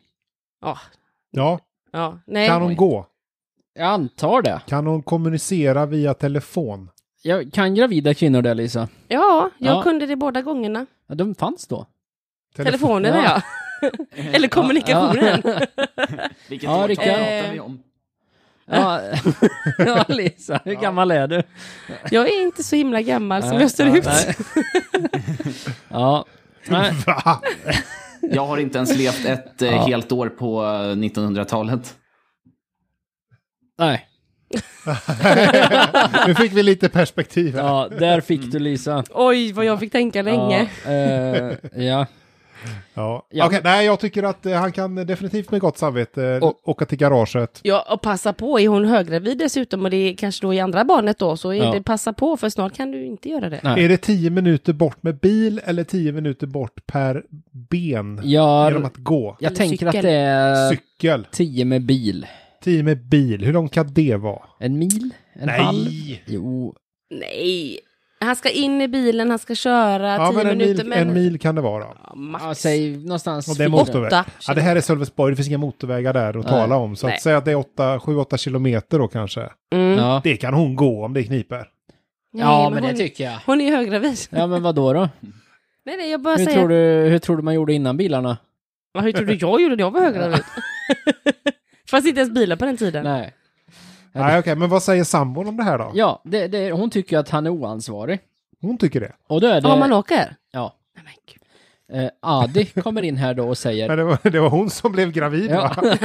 Speaker 1: Ja,
Speaker 2: ja. Nej.
Speaker 1: kan hon gå?
Speaker 4: Jag antar det.
Speaker 1: Kan hon kommunicera via telefon?
Speaker 4: Jag kan gravida kvinnor det, Lisa?
Speaker 2: Ja, jag
Speaker 4: Ja.
Speaker 2: kunde det båda gångerna.
Speaker 4: Ja, de fanns då.
Speaker 1: Telefon.
Speaker 2: Telefonerna ja. <laughs>
Speaker 4: Ja.
Speaker 2: Eller kommunikationen.
Speaker 3: Vilket
Speaker 4: Ja,
Speaker 3: år
Speaker 4: Rickard.
Speaker 3: pratar vi om?
Speaker 4: Ja, Äh? <laughs> ja Lisa, hur gammal är du?
Speaker 2: Jag är inte så himla gammal som jag ser
Speaker 4: Ja,
Speaker 2: ut.
Speaker 4: nej. <laughs> Ja. <laughs> Nej.
Speaker 1: Va?
Speaker 3: Jag har inte ens levt ett eh, helt år på eh, 1900-talet.
Speaker 4: Nej.
Speaker 1: Nu fick vi lite perspektiv här.
Speaker 4: Ja, där fick
Speaker 2: <laughs>
Speaker 4: du Lisa.
Speaker 2: Oj, vad jag fick tänka länge.
Speaker 4: Ja, eh, ja.
Speaker 1: Ja.
Speaker 4: Ja.
Speaker 1: Okej, nej, jag tycker att eh, han kan definitivt med gott samvete eh,
Speaker 4: Och-
Speaker 1: åka till garaget.
Speaker 2: Ja, och passa på. Är hon höggravid dessutom och det är kanske då i andra barnet då, så är
Speaker 4: Ja.
Speaker 2: det passa på för snart kan du inte göra det.
Speaker 4: Nej.
Speaker 1: Är det 10 minuter bort med bil eller 10 minuter bort per ben? Genom
Speaker 4: Jag,
Speaker 1: att gå?
Speaker 4: jag
Speaker 2: Eller
Speaker 4: tänker att
Speaker 2: cykel.
Speaker 4: det är
Speaker 1: Cykel?
Speaker 4: 10 med bil.
Speaker 1: 10 Eh, med bil, hur långt kan det vara?
Speaker 4: En mil? En halv? Jo.
Speaker 2: Nej. Han ska in i bilen, han ska köra,
Speaker 1: Ja,
Speaker 2: tio
Speaker 1: men en
Speaker 2: minuter.
Speaker 1: mil,
Speaker 2: men...
Speaker 1: en mil kan det vara.
Speaker 2: Ja,
Speaker 4: Ja,
Speaker 2: max.
Speaker 4: säg någonstans.
Speaker 1: Och det är
Speaker 4: fyra.
Speaker 1: motorväg.
Speaker 2: Åtta.
Speaker 1: Ja, det här är Sölvesborg, det finns inga motorvägar där att
Speaker 4: Nej.
Speaker 1: tala om. Så
Speaker 2: Nej.
Speaker 1: att säga att det är 7-8 kilometer då kanske.
Speaker 2: Mm.
Speaker 4: Ja,
Speaker 1: Det kan hon gå om det kniper.
Speaker 2: Nej,
Speaker 4: ja men det
Speaker 2: hon,
Speaker 4: tycker jag.
Speaker 2: hon är ju höggravid.
Speaker 4: Ja, men vad då? då?
Speaker 2: Nej, nej, jag bara
Speaker 4: Hur
Speaker 2: säger...
Speaker 4: tror, du, hur tror du man gjorde innan bilarna?
Speaker 2: Ja, hur tror du jag gjorde när jag var <laughs> höggravid? Fanns inte ens bilar på den tiden.
Speaker 4: Nej.
Speaker 1: Nej, okej, men vad säger sambon om det här då?
Speaker 4: Ja, det, det, hon tycker att han är oansvarig.
Speaker 1: Hon tycker det.
Speaker 4: Och då är det...
Speaker 2: Ja, man åker.
Speaker 4: ja.
Speaker 2: Nej, men gud.
Speaker 4: Eh, Adi kommer in här då och säger...
Speaker 1: <laughs> Men det, var, det var hon som blev gravid
Speaker 4: Ja.
Speaker 1: va?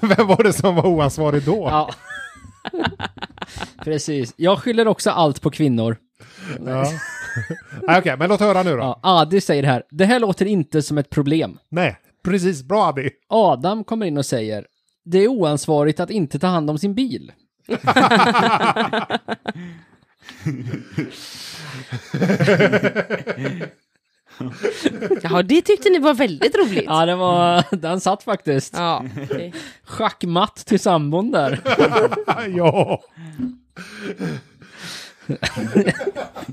Speaker 1: <laughs> Vem var det som var oansvarig då?
Speaker 4: Ja.
Speaker 2: <laughs>
Speaker 4: Precis. Jag skyller också allt på kvinnor.
Speaker 1: Ja. <laughs> Nej, okej, men låt höra nu då.
Speaker 4: Ja, Adi säger här, det här låter inte som ett problem.
Speaker 1: Nej, precis. Bra Abby.
Speaker 4: Adam kommer in och säger, det är oansvarigt att inte ta hand om sin bil.
Speaker 2: Jaha, det tyckte ni var väldigt roligt.
Speaker 4: Ja, den var, <laughs> den satt faktiskt.
Speaker 2: Ja, okej.
Speaker 4: Schackmatt till sambon där.
Speaker 1: <laughs> ja.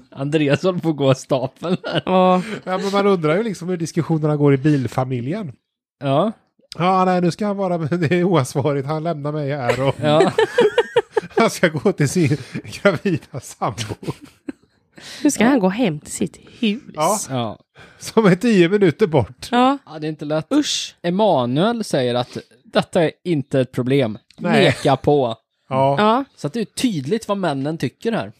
Speaker 4: Andreas håller på att gå av stapeln där.
Speaker 2: ja.
Speaker 1: ja, men man undrar ju liksom hur diskussionerna går i bilfamiljen.
Speaker 4: Ja,
Speaker 1: Ja, nej, nu ska han vara, <laughs> men det är oansvarigt, han lämnar mig här och
Speaker 4: ja.
Speaker 1: <laughs> han ska gå till sin <laughs> gravida sambo.
Speaker 2: Nu ska han gå hem till sitt hus.
Speaker 1: <laughs> Ja,
Speaker 4: ja.
Speaker 1: som är tio minuter bort.
Speaker 2: Ja.
Speaker 4: ja det är inte lätt.
Speaker 2: Usch.
Speaker 4: Emanuel säger att detta är inte ett problem.
Speaker 1: Nej.
Speaker 4: Neka på.
Speaker 1: Ja,
Speaker 2: Ja.
Speaker 4: Så att det är tydligt vad männen tycker här.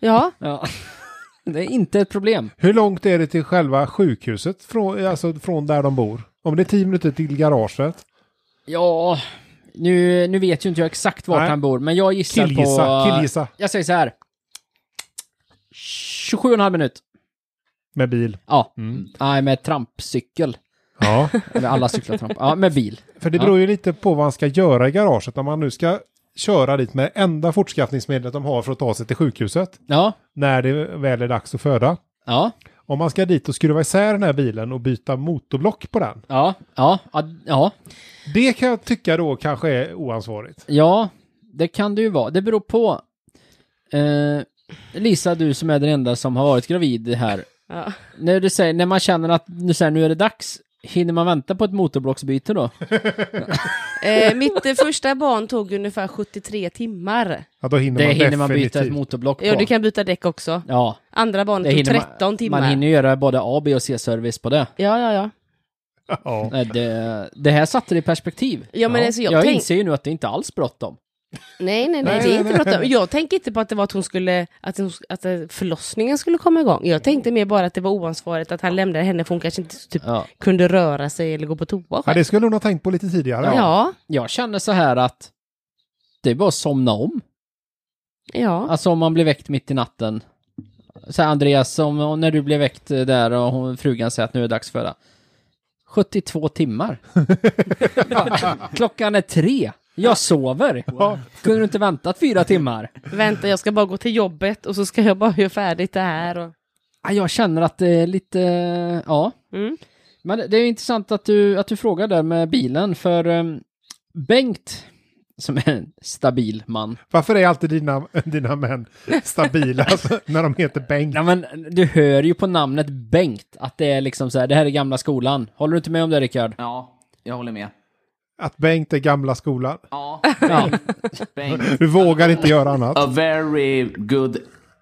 Speaker 2: Ja.
Speaker 4: Ja. <laughs> Det är inte ett problem.
Speaker 1: hur långt är det till själva sjukhuset från, alltså från där de bor? Om det är tio minuter till garaget.
Speaker 4: Ja, nu, nu vet ju inte jag exakt vart
Speaker 1: Nej.
Speaker 4: han bor, men jag gissar
Speaker 1: Killgissa,
Speaker 4: på...
Speaker 1: killgissa.
Speaker 4: Jag säger så här. 27,5 minut.
Speaker 1: Med bil.
Speaker 4: Ja.
Speaker 1: Mm.
Speaker 4: Nej, med trampcykel.
Speaker 1: <laughs> Ja.
Speaker 4: Eller alla cyklar tramp. Ja, med bil.
Speaker 1: För det beror ju lite på vad han ska göra i garaget. Om han nu ska köra dit med enda fortskaffningsmedlet de har för att ta sig till sjukhuset.
Speaker 4: Ja.
Speaker 1: När det väl är dags att föda.
Speaker 4: Ja.
Speaker 1: Om man ska dit och skruva isär den här bilen och byta motorblock på den.
Speaker 4: Ja. Ja. Ja. Ja.
Speaker 1: Det kan jag tycka då kanske är oansvarigt.
Speaker 4: ja. Det kan det ju vara. Det beror på. Eh, Lisa, du som är den enda som har varit gravid här.
Speaker 2: Ja.
Speaker 4: När, du säger, när man känner att nu, så här, nu är det dags, hinner man vänta på ett motorblocksbyte då?
Speaker 2: Eh, mitt eh, första barn tog ungefär 73 timmar.
Speaker 1: Ja, då hinner
Speaker 4: Det
Speaker 1: man
Speaker 4: hinner man byta ett
Speaker 1: definitivt.
Speaker 4: motorblock på.
Speaker 2: Ja, du kan byta däck också.
Speaker 4: Ja,
Speaker 2: Andra
Speaker 4: det
Speaker 2: barnet tog
Speaker 4: hinner
Speaker 2: 13
Speaker 4: man,
Speaker 2: timmar.
Speaker 4: man hinner ju göra både A, B och C-service på det.
Speaker 2: Ja, ja, ja.
Speaker 1: <laughs> Ja.
Speaker 4: Nej, Det, det här satte det i perspektiv.
Speaker 2: Ja, men alltså, jag,
Speaker 4: jag
Speaker 2: tänk...
Speaker 4: inser ju nu att det inte alls bråttom.
Speaker 2: Nej, nej, nej,
Speaker 1: Nej,
Speaker 2: det är
Speaker 1: nej, nej.
Speaker 2: inte bråttom. Jag tänkte inte på att det var att hon skulle, att, hon, att eh, förlossningen skulle komma igång. Jag tänkte mer bara att det var oansvarigt att han lämnade henne för hon kanske inte typ,
Speaker 4: Ja.
Speaker 2: kunde röra sig eller gå på toa
Speaker 1: ja,
Speaker 2: själv.
Speaker 1: det skulle hon ha tänkt på lite tidigare.
Speaker 2: Ja, ja.
Speaker 4: Jag känner så här att det är bara att somna om.
Speaker 2: ja.
Speaker 4: Alltså om man blir väckt mitt i natten. Så här, Andreas, om, om när du blev väckt eh, där och hon, frugan säger att nu är det dags för det. 72 timmar. Klockan är tre. Jag sover. Kunde du inte väntat fyra timmar?
Speaker 2: Vänta, jag ska bara gå till jobbet och så ska jag bara göra färdigt det här. Och...
Speaker 4: Ja, Jag känner att det är lite, eh, ja.
Speaker 2: Mm.
Speaker 4: Men det- det är intressant att du, att du frågar där med bilen, för ehm, Bengt, som är en stabil man.
Speaker 1: Varför är alltid dina, <laughs> dina män
Speaker 4: <laughs>
Speaker 1: stabila alltså, när de heter Bengt?
Speaker 4: Ja, men du hör ju på namnet Bengt att det är liksom så här, det här är gamla skolan. Håller du inte med om det, Rickard?
Speaker 3: Ja, jag håller med.
Speaker 1: Att Bengt är gamla skolan.
Speaker 3: Ja, <laughs>
Speaker 4: Ja.
Speaker 3: Bengt.
Speaker 1: Du vågar inte göra annat.
Speaker 3: A very good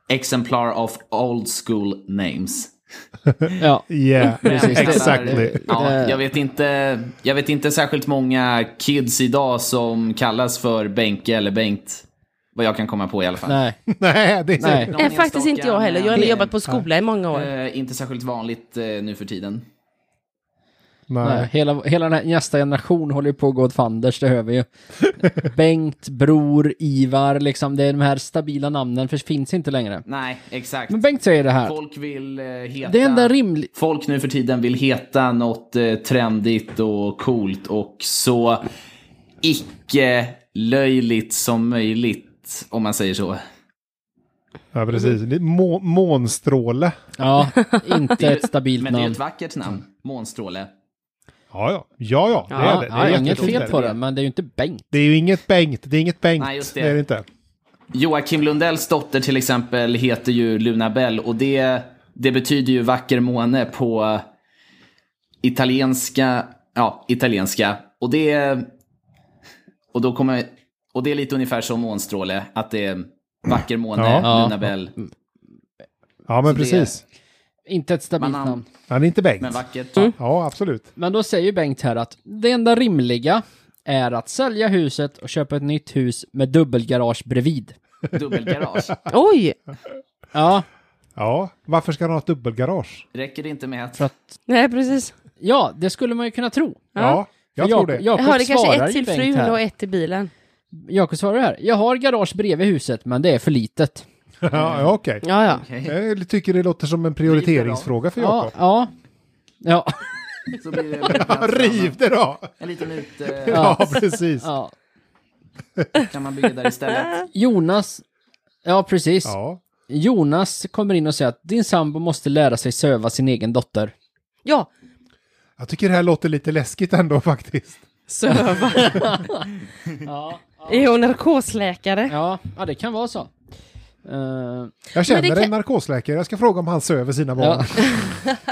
Speaker 3: exemplar of old school names.
Speaker 4: ja.
Speaker 1: Yeah, <laughs>
Speaker 4: Precis.
Speaker 1: exactly.
Speaker 3: Ja, jag, vet inte, jag vet inte särskilt många kids idag som kallas för Benke eller Bengt. Vad jag kan komma på i alla fall.
Speaker 4: Nej.
Speaker 1: Nej, det är
Speaker 4: Nej.
Speaker 3: Någon
Speaker 2: Nej, Eh, faktiskt
Speaker 3: enstaka,
Speaker 2: inte jag heller. Jag har
Speaker 3: men,
Speaker 2: jobbat på skola i många år.
Speaker 3: eh, inte särskilt vanligt eh, nu för tiden.
Speaker 4: Nej.
Speaker 1: Nej.
Speaker 4: Hela, hela den här nästa generation håller ju på att gå åt fanders, det hör vi ju. Bengt, Bror, Ivar, liksom. Det är de här stabila namnen, för finns inte längre.
Speaker 3: Nej, exakt.
Speaker 4: Men Bengt säger det här.
Speaker 3: Folk vill eh, heta...
Speaker 4: Det enda rimliga...
Speaker 3: Folk nu för tiden vill heta något eh, trendigt och coolt och så icke löjligt som möjligt, om man säger så.
Speaker 1: Ja, precis. Det är Må månstråle.
Speaker 4: Ja, inte ett stabilt
Speaker 3: Men det är ju
Speaker 4: namn.
Speaker 3: ett vackert namn. Månstråle.
Speaker 1: Ja, ja. Ja, ja. Det är det. Det
Speaker 4: Ja,
Speaker 1: är
Speaker 4: inget
Speaker 1: jättefint.
Speaker 4: fel på det, men det är ju inte Bengt.
Speaker 1: Det är ju inget Bengt. Det är inget Bengt.
Speaker 3: Nej, just det.
Speaker 1: det är det inte.
Speaker 3: Joakim Lundells dotter till exempel heter ju Luna Bell och det, det betyder ju vacker måne på italienska. Ja, italienska. Och det, och då kommer, och det är lite ungefär som månstråle, att det är vacker måne,
Speaker 1: Ja.
Speaker 3: Luna Bell.
Speaker 1: Ja, men
Speaker 3: det-
Speaker 1: precis.
Speaker 4: Inte ett stabilt
Speaker 3: Men han-
Speaker 4: namn.
Speaker 1: Han är inte Bengt.
Speaker 3: Men vackert.
Speaker 1: Ja, absolut.
Speaker 4: Men då säger Bengt här att det enda rimliga är att sälja huset och köpa ett nytt hus med dubbelgarage bredvid.
Speaker 3: Dubbelgarage.
Speaker 2: Oj!
Speaker 4: Ja,
Speaker 1: Ja, varför ska han ha ett dubbelgarage?
Speaker 3: Räcker det inte med att...
Speaker 4: för att,
Speaker 2: Nej, precis.
Speaker 4: ja, det skulle man ju kunna tro.
Speaker 1: Ja,
Speaker 4: För
Speaker 1: jag tror
Speaker 4: Jakob-
Speaker 1: det.
Speaker 2: Jag
Speaker 4: Jakob
Speaker 2: har det kanske
Speaker 4: svarar
Speaker 2: ett
Speaker 4: ju
Speaker 2: till
Speaker 4: Bengt
Speaker 2: frun
Speaker 4: här.
Speaker 2: och ett till bilen.
Speaker 4: Jakob svarar här. Jag har garage bredvid huset, men det är för litet.
Speaker 1: Ja, ja, okej.
Speaker 2: Ja, ja.
Speaker 3: Okej,
Speaker 1: Jag tycker det låter som en prioriteringsfråga för
Speaker 4: Ja,
Speaker 1: Jakob.
Speaker 4: ja. Ja,
Speaker 3: så blir
Speaker 1: <laughs>
Speaker 3: det
Speaker 1: Riv det då!
Speaker 3: en liten ute
Speaker 1: Ja, precis.
Speaker 4: ja.
Speaker 3: kan man bygga där istället.
Speaker 4: Jonas, ja precis.
Speaker 1: Ja.
Speaker 4: Jonas kommer in och säger att din sambo måste lära sig söva sin egen dotter.
Speaker 2: ja.
Speaker 1: Jag tycker det här låter lite läskigt ändå faktiskt.
Speaker 2: söva.
Speaker 4: Ja,
Speaker 2: Är hon narkosläkare?
Speaker 4: ja, ja det kan vara så. Eh,
Speaker 1: Jag känner
Speaker 2: kan-
Speaker 1: en narkosläkare, jag ska fråga om han söver sina barn. <laughs>
Speaker 4: ja.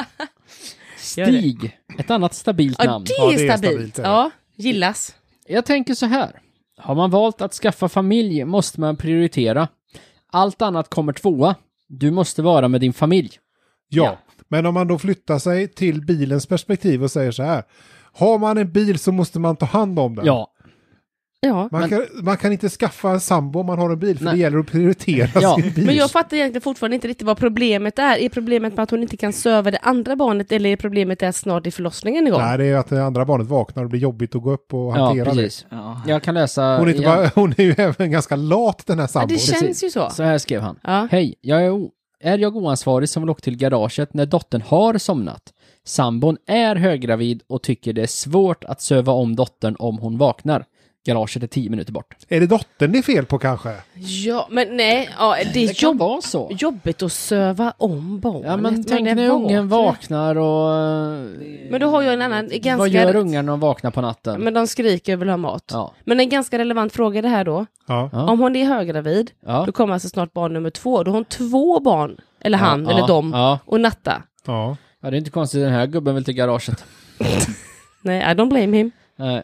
Speaker 2: Gör det.
Speaker 4: Stig, ett annat stabilt
Speaker 2: Ja,
Speaker 4: namn.
Speaker 2: det
Speaker 1: Ja,
Speaker 2: är stabilt.
Speaker 1: det.
Speaker 2: Ja, gillas.
Speaker 4: Jag tänker så här. Har man valt att skaffa familj måste man prioritera. Allt annat kommer tvåa. Du måste vara med din familj.
Speaker 1: Ja,
Speaker 4: Ja.
Speaker 1: men om man då flyttar sig till bilens perspektiv och säger så här. Har man en bil så måste man ta hand om den.
Speaker 4: Ja,
Speaker 2: Ja.
Speaker 1: Man,
Speaker 4: men-
Speaker 1: kan, man kan inte skaffa en sambo om man har en bil, för
Speaker 4: Nej.
Speaker 1: det gäller att prioritera
Speaker 4: Ja.
Speaker 1: sin bil.
Speaker 2: Men jag fattar egentligen fortfarande inte riktigt vad problemet är. Är problemet med att hon inte kan söva det andra barnet eller är problemet att snart är förlossningen igång?
Speaker 1: Nej, det är ju att det andra barnet vaknar och det blir jobbigt att gå upp och
Speaker 4: ja
Speaker 1: hantera det.
Speaker 4: precis.
Speaker 3: Ja.
Speaker 4: Jag kan läsa
Speaker 1: Hon är, inte
Speaker 4: igen.
Speaker 1: bara, hon är ju även ganska lat den här
Speaker 2: Ja,
Speaker 1: sambon.
Speaker 2: det känns ju så.
Speaker 4: Så här skrev han.
Speaker 2: Ja.
Speaker 4: Hej, jag är, o- är jag oansvarig som vill åka till garaget när dottern har somnat? Sambon är höggravid och tycker det är svårt att söva om dottern om hon vaknar. Garaget är tio minuter bort.
Speaker 1: Är det dottern det är fel på kanske?
Speaker 2: Ja, men nej, ja, det är jobb,
Speaker 4: vara så.
Speaker 2: jobbigt att söva om barnet.
Speaker 4: Ja, men tänk
Speaker 2: det
Speaker 4: när ungen
Speaker 2: vaknar.
Speaker 4: vaknar och... eh,
Speaker 2: Men då har jag en annan, ganska...
Speaker 4: Vad gör ungarna när de vaknar på natten?
Speaker 2: Men de skriker och vill ha mat.
Speaker 4: Ja.
Speaker 2: Men en ganska relevant fråga är det här då.
Speaker 1: Ja.
Speaker 4: Ja.
Speaker 2: Om hon är höggravid,
Speaker 4: Ja.
Speaker 2: då kommer alltså snart barn nummer två. Då har hon två barn, eller han,
Speaker 4: ja,
Speaker 2: eller dem,
Speaker 4: ja.
Speaker 2: och natta.
Speaker 1: ja.
Speaker 4: ja, det är inte konstigt den här gubben vill till garaget.
Speaker 2: Nej, I don't blame him.
Speaker 4: Nej.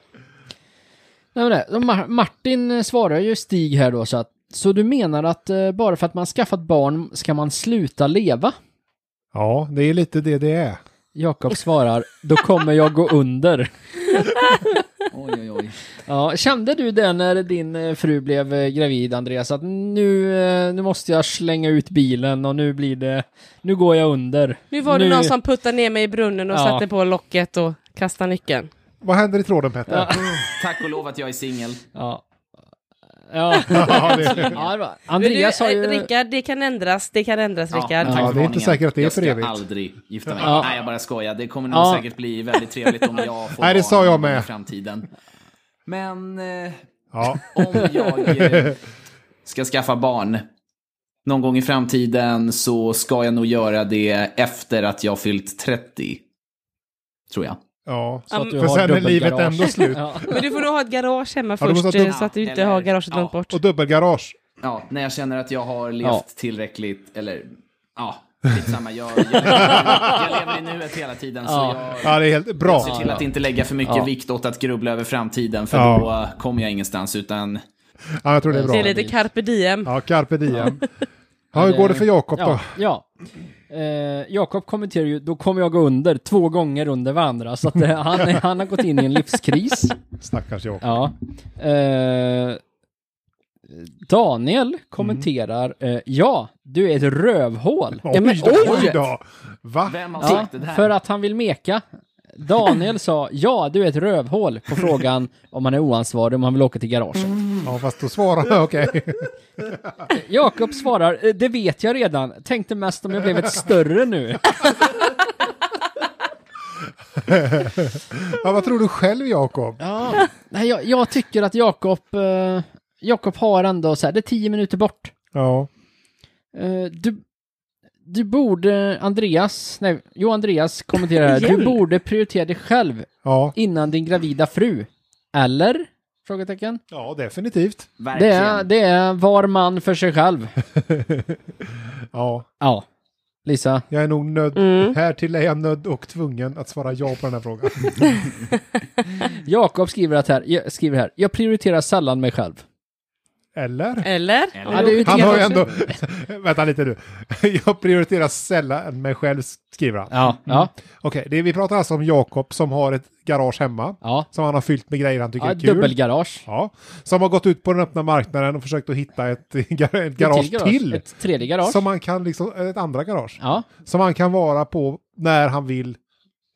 Speaker 4: Nej, men det, och Ma- Martin eh, svarar ju Stig här då så att så du menar att eh, bara för att man skaffat barn ska man sluta leva?
Speaker 1: Ja, det är lite det det är.
Speaker 4: Jakob svarar, då kommer jag gå under.
Speaker 3: Oj, oj, oj.
Speaker 4: Ja, kände du det när din eh, fru blev eh, gravid, Andreas, att nu, eh, nu måste jag slänga ut bilen och nu blir det, nu går jag under.
Speaker 2: Nu var det någon som puttade ner mig i brunnen och
Speaker 4: Ja.
Speaker 2: satte på locket och kastade nyckeln.
Speaker 1: Vad händer i tråden Petter? Ja. <laughs>
Speaker 3: Tack och lov att jag är singel.
Speaker 4: Ja. Ja.
Speaker 1: det,
Speaker 4: ja, det var-
Speaker 2: Men du,
Speaker 4: Andreas har
Speaker 2: eh,
Speaker 4: ju...
Speaker 2: Rickard, det kan ändras, det kan ändras
Speaker 3: Ja,
Speaker 2: Rickard.
Speaker 3: tack för
Speaker 1: det är inte
Speaker 3: varningen.
Speaker 1: säkert att det är för
Speaker 3: Jag
Speaker 1: evigt.
Speaker 3: ska aldrig gifta mig.
Speaker 4: Ja.
Speaker 3: Nej, jag bara skojar. Det kommer nog
Speaker 4: Ja.
Speaker 3: säkert bli väldigt trevligt om jag
Speaker 1: <laughs>
Speaker 3: får
Speaker 1: Nej, det
Speaker 3: barn
Speaker 1: sa jag
Speaker 3: någon gång
Speaker 1: med.
Speaker 3: i framtiden. Men eh,
Speaker 1: ja.
Speaker 3: om jag eh, ska skaffa barn någon gång i framtiden så ska jag nog göra det efter att jag fyllt 30. Tror jag.
Speaker 1: ja.
Speaker 4: Så att du
Speaker 1: För
Speaker 4: har
Speaker 1: sen är
Speaker 4: dubbelgarage.
Speaker 1: livet ändå slut.
Speaker 4: Ja.
Speaker 2: Men du får nog ha ett garage hemma
Speaker 1: Ja, du måste
Speaker 2: först
Speaker 1: ha
Speaker 2: eh,
Speaker 1: dubb-
Speaker 2: så att du inte
Speaker 3: eller-
Speaker 2: har garaget
Speaker 3: ja.
Speaker 2: långt bort.
Speaker 1: Och dubbelgarage.
Speaker 3: Ja, när jag känner att jag har levt
Speaker 4: Ja.
Speaker 3: tillräckligt, eller ja, skitsamma. Jag, jag, jag lever i nuet hela tiden så jag...
Speaker 1: Ja, det är helt bra.
Speaker 3: Se till att inte lägga för mycket vikt åt att grubbla över framtiden, för
Speaker 1: Ja.
Speaker 3: då kommer jag ingenstans. Utan
Speaker 1: Ja, jag tror det är bra.
Speaker 2: Det är lite carpe diem.
Speaker 1: Ja, carpe diem. Ja, hur går det för Jakob då?
Speaker 4: Ja, Eh, ja. Eh, Jakob kommenterar ju, då kommer jag gå under två gånger under varandra, så att
Speaker 1: <laughs>
Speaker 4: eh, han, är- han har gått in i en livskris.
Speaker 1: Stackars Jakob.
Speaker 4: Ja. Eh, Daniel kommenterar, eh, ja, du är ett rövhål.
Speaker 1: Mm. Oj,
Speaker 2: men
Speaker 1: då,
Speaker 2: oj!
Speaker 1: oj då! Va?
Speaker 3: vem har
Speaker 4: Ja,
Speaker 3: sagt det här?
Speaker 4: för att han vill meka. Daniel sa, ja, du är ett rövhål, på frågan om han är oansvarig om han vill åka till garaget.
Speaker 1: Ja, fast då svarar <laughs> jag okej.
Speaker 4: Jakob svarar, "Eh, det vet jag redan, tänkte mest om jag blev ett större nu.
Speaker 1: Ja, vad tror du själv Jakob?
Speaker 4: Ja, Ah. nej, jag, jag tycker att Jakob, eh, Jakob har ändå så här, det är tio minuter bort.
Speaker 1: Ja.
Speaker 4: Eh, du, du borde, Andreas, nej, jo Andreas kommenterar här, du
Speaker 2: Igen?
Speaker 4: borde prioritera dig själv
Speaker 1: Ja,
Speaker 4: innan din gravida fru. Eller? Frågetecken.
Speaker 1: ja definitivt.
Speaker 4: Det
Speaker 3: Verkligen.
Speaker 4: är, det är var man för sig
Speaker 1: <laughs>
Speaker 4: själv.
Speaker 1: Ja,
Speaker 4: Ja. Lisa?
Speaker 1: jag är nog nödd.
Speaker 2: Mm.
Speaker 1: Här till är jag nödd och tvungen att svara ja på den här frågan.
Speaker 4: Jakob skriver, att här, jag- skriver här, jag prioriterar sällan mig själv.
Speaker 1: Mm. Eller?
Speaker 2: Eller?
Speaker 3: Eller?
Speaker 4: Ja, det är ju
Speaker 1: Han
Speaker 4: det
Speaker 1: har ju
Speaker 4: också.
Speaker 1: ändå... <laughs> Vänta lite nu. Jag prioriterar sällan mig själv, skriver han.
Speaker 4: Ja, ja,
Speaker 1: Okej, det vi pratar alltså om Jakob som har ett garage hemma.
Speaker 4: ja.
Speaker 1: Som han har fyllt med grejer han tycker
Speaker 4: ja
Speaker 1: är kul.
Speaker 4: dubbelgarage.
Speaker 1: Ja, som har gått ut på den öppna marknaden och försökt att hitta ett, <laughs> gar- ett garage till.
Speaker 4: Ett tredje garage.
Speaker 1: Som man kan liksom, ett andra garage.
Speaker 4: Ja,
Speaker 1: Som han kan vara på när han vill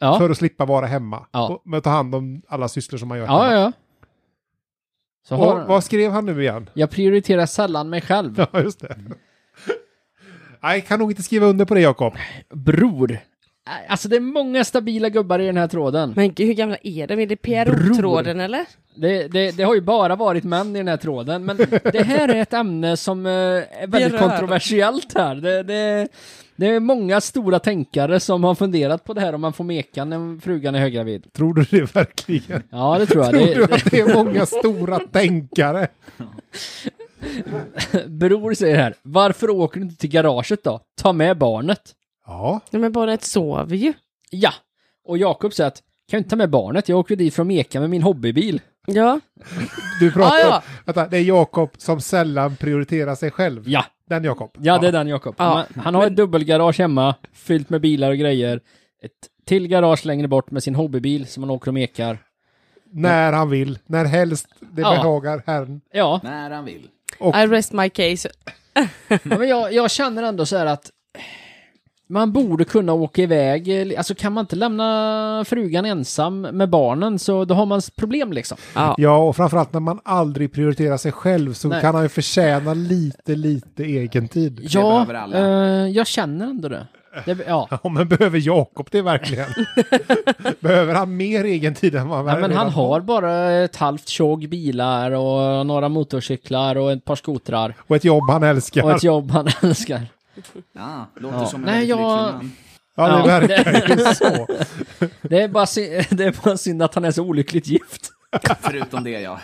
Speaker 4: ja.
Speaker 1: för att slippa vara hemma.
Speaker 4: Ja.
Speaker 1: Och, men ta hand om alla sysslor som man gör
Speaker 4: Ja,
Speaker 1: hemma.
Speaker 4: ja, ja. Så har,
Speaker 1: Och vad skrev han nu igen? <laughs>
Speaker 4: Jag prioriterar sällan mig själv.
Speaker 1: Ja, just det. Nej, kan nog inte skriva under på det Jakob.
Speaker 4: Bror. Alltså det är många stabila gubbar i den här tråden.
Speaker 2: Men gud, hur gamla är de? Är det PRO-tråden eller?
Speaker 4: Det, det, det har ju bara varit män i den här
Speaker 1: <laughs>
Speaker 4: tråden, men det här är ett ämne som eh, är väldigt
Speaker 2: Berör.
Speaker 4: kontroversiellt här. Det, det, det är många stora tänkare som har funderat på det här om man får meka när frugan är höggravid.
Speaker 1: Tror du det verkligen?
Speaker 4: Ja, det
Speaker 1: <laughs>
Speaker 4: tror jag.
Speaker 1: Tror
Speaker 4: Det,
Speaker 1: du att det är många stora tänkare?
Speaker 4: det, bror säger här, varför åker du inte till garaget då? Ta med barnet.
Speaker 1: Ja,
Speaker 2: Nej men barnet sover ju.
Speaker 4: Ja, och Jakob säger att, kan du inte ta med barnet? Jag åker dit för att meka med min hobbybil.
Speaker 2: Ja.
Speaker 1: du pratar
Speaker 2: Ah, ja.
Speaker 1: om... Vänta, det är Jakob som sällan prioriterar sig själv.
Speaker 4: Ja,
Speaker 1: Den Jakob.
Speaker 4: Ja, det är den Jakob.
Speaker 2: Ja.
Speaker 4: Han, han har ett dubbelgarage hemma, fyllt med bilar och grejer. Ett till garage längre bort med sin hobbybil som han åker och mekar.
Speaker 1: När han vill, när helst det
Speaker 4: Ja.
Speaker 1: behagar herrn.
Speaker 4: Ja,
Speaker 3: När han vill.
Speaker 2: I rest my case.
Speaker 4: ja, men jag, jag känner ändå så här att man borde kunna åka iväg. eh, Alltså kan man inte lämna frugan ensam med barnen så då har man s- problem liksom.
Speaker 2: Ja.
Speaker 1: Ja, och framförallt när man aldrig prioriterar sig själv så
Speaker 4: Nej.
Speaker 1: kan han ju förtjäna lite, lite egen tid.
Speaker 4: Ja,
Speaker 3: behöver alla.
Speaker 4: eh, jag känner ändå det. det ja.
Speaker 1: Ja, men behöver Jakob det
Speaker 4: <laughs>
Speaker 1: verkligen? behöver han mer egen tid än vad han
Speaker 4: Ja, men
Speaker 1: redan
Speaker 4: han har bara ett halvt tjog bilar och några motorcyklar och ett par skotrar
Speaker 1: Och ett jobb han älskar.
Speaker 4: och ett jobb han <laughs> älskar.
Speaker 3: Ah, låter
Speaker 4: Ja.
Speaker 3: som en
Speaker 4: Nej,
Speaker 3: väldigt
Speaker 4: jag-
Speaker 3: lycklig man.
Speaker 1: Ja, det
Speaker 4: Ja.
Speaker 1: verkar ju så.
Speaker 4: <laughs> Det är, bara synd, det är bara synd att han är så olyckligt gift.
Speaker 3: Förutom det, ja.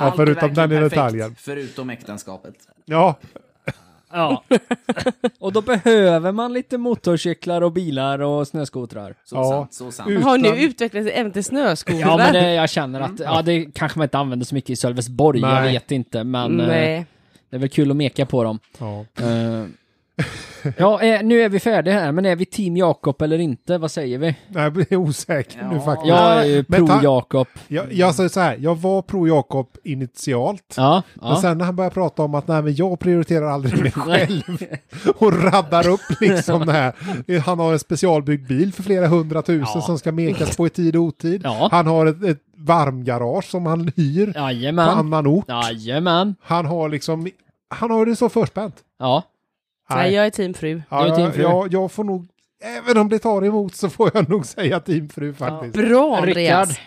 Speaker 1: Ja,
Speaker 3: Allt är
Speaker 1: förutom den
Speaker 3: verkligen
Speaker 1: i
Speaker 3: perfekt,
Speaker 1: detaljen.
Speaker 3: Förutom äktenskapet.
Speaker 1: Ja,
Speaker 4: Ja. <laughs> Och då behöver man lite motorcyklar och bilar och snöskotrar.
Speaker 3: Så
Speaker 1: Ja.
Speaker 3: sant, så sant.
Speaker 1: Ut.
Speaker 2: Har nu
Speaker 1: Utan-
Speaker 2: utvecklats även till snöskotrar.
Speaker 4: Ja, men det, jag känner att ja, det kanske man inte använder så mycket i Sölvesborg, jag
Speaker 1: Nej.
Speaker 4: vet inte, men eh,
Speaker 2: Nej.
Speaker 4: det är väl kul att meka på dem.
Speaker 1: ja.
Speaker 4: Eh, ja, eh, nu är vi färdiga här, men är vi team Jakob eller inte? Vad säger vi?
Speaker 1: Nej, jag blir osäker nu
Speaker 3: Ja.
Speaker 1: faktiskt.
Speaker 4: Jag är ju
Speaker 1: men ta-
Speaker 4: pro-Jakob.
Speaker 1: Jag, jag säger så här, jag var pro Jakob initialt.
Speaker 4: Ja,
Speaker 1: Men
Speaker 4: ja.
Speaker 1: sen när han började prata om att nej, men jag prioriterar aldrig mig
Speaker 4: <laughs> Nej.
Speaker 1: själv och raddar upp
Speaker 4: <laughs>
Speaker 1: liksom det här. Han har en specialbyggd bil för flera hundratusen
Speaker 4: Ja.
Speaker 1: som ska mekas på i tid och otid.
Speaker 4: Ja.
Speaker 1: Han har ett, ett varmgarage som han hyr på
Speaker 4: Jajamän.
Speaker 1: annan ort.
Speaker 4: Jajamän.
Speaker 1: Han har liksom, han har det så förspänt.
Speaker 4: Ja.
Speaker 2: Nej, jag är team fru.
Speaker 1: Ja,
Speaker 4: Du är team
Speaker 1: jag,
Speaker 4: fru.
Speaker 1: jag, jag får nog, även om det tar emot så får jag <laughs> nog säga teamfru faktiskt.
Speaker 2: Bra
Speaker 4: Rickard.
Speaker 2: Andreas.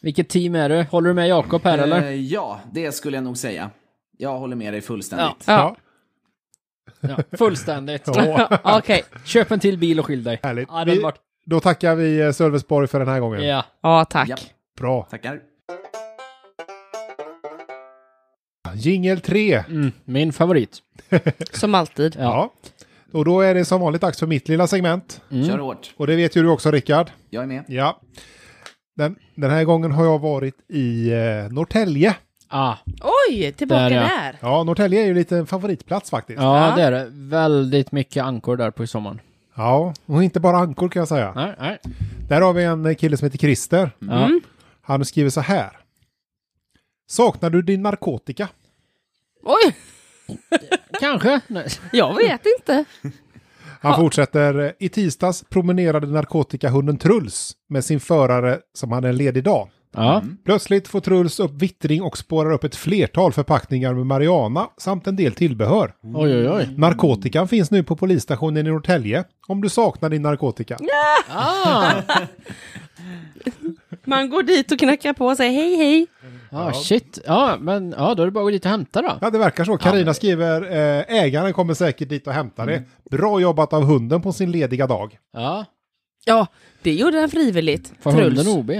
Speaker 4: Vilket team är du? Håller du med Jakob här eller?
Speaker 3: Eh, ja, det skulle jag nog säga. Jag håller med dig fullständigt.
Speaker 2: Ja,
Speaker 4: Ja, fullständigt.
Speaker 1: <laughs> Ja.
Speaker 2: okej.
Speaker 4: Köp en till bil och skilj dig.
Speaker 1: Härligt.
Speaker 4: Ja,
Speaker 1: Vi-
Speaker 4: den vart...
Speaker 1: Då tackar vi eh, Sölvesborg för den här gången.
Speaker 4: Ja.
Speaker 2: Ja, tack.
Speaker 3: Ja.
Speaker 1: Bra.
Speaker 3: Tackar.
Speaker 1: Jingel 3.
Speaker 4: Mm, min favorit.
Speaker 2: Som alltid.
Speaker 1: Ja. Och då är det som vanligt dags för mitt lilla segment.
Speaker 3: Kör hårt.
Speaker 1: Och det vet ju du också Rickard.
Speaker 3: Jag är med.
Speaker 1: Ja. Den, den här gången har jag varit i eh, Norrtälje.
Speaker 4: Ah,
Speaker 2: Oj, tillbaka
Speaker 4: Där, ja.
Speaker 2: där.
Speaker 1: Ja, Norrtälje är ju lite en favoritplats faktiskt. Ja.
Speaker 4: ja,
Speaker 2: Ja.
Speaker 4: det är det. Väldigt mycket ankor där på sommaren.
Speaker 1: och inte bara ankor kan jag säga.
Speaker 4: Nej, nej.
Speaker 1: Där har vi en eh, kille som heter Christer.
Speaker 4: Ja.
Speaker 1: Han skriver så här. Saknar du din narkotika?
Speaker 2: Oj,
Speaker 4: Kanske. Nej.
Speaker 2: jag vet inte.
Speaker 1: Han fortsätter. eh, I tisdags promenerade narkotikahunden Truls med sin förare som hade en ledig dag.
Speaker 4: Ja.
Speaker 1: Mm. Plötsligt får Truls upp vittring och spårar upp ett flertal förpackningar med marijuana samt en del tillbehör.
Speaker 4: Oj, oj, oj.
Speaker 1: Narkotikan finns nu på polisstationen i Norrtälje om du saknar din narkotika.
Speaker 4: Ah,
Speaker 2: Man går dit och knackar på och säger hej hej.
Speaker 4: ah shit. Ja, men ja, då är det bara att gå dit och hämta då.
Speaker 1: Ja, det verkar så. Karina skriver eh, ägaren kommer säkert dit och hämtar det. Bra jobbat av hunden på sin lediga dag.
Speaker 4: Ja.
Speaker 2: Ja, det gjorde han frivilligt.
Speaker 4: Får
Speaker 2: Truls.
Speaker 4: hunden OB?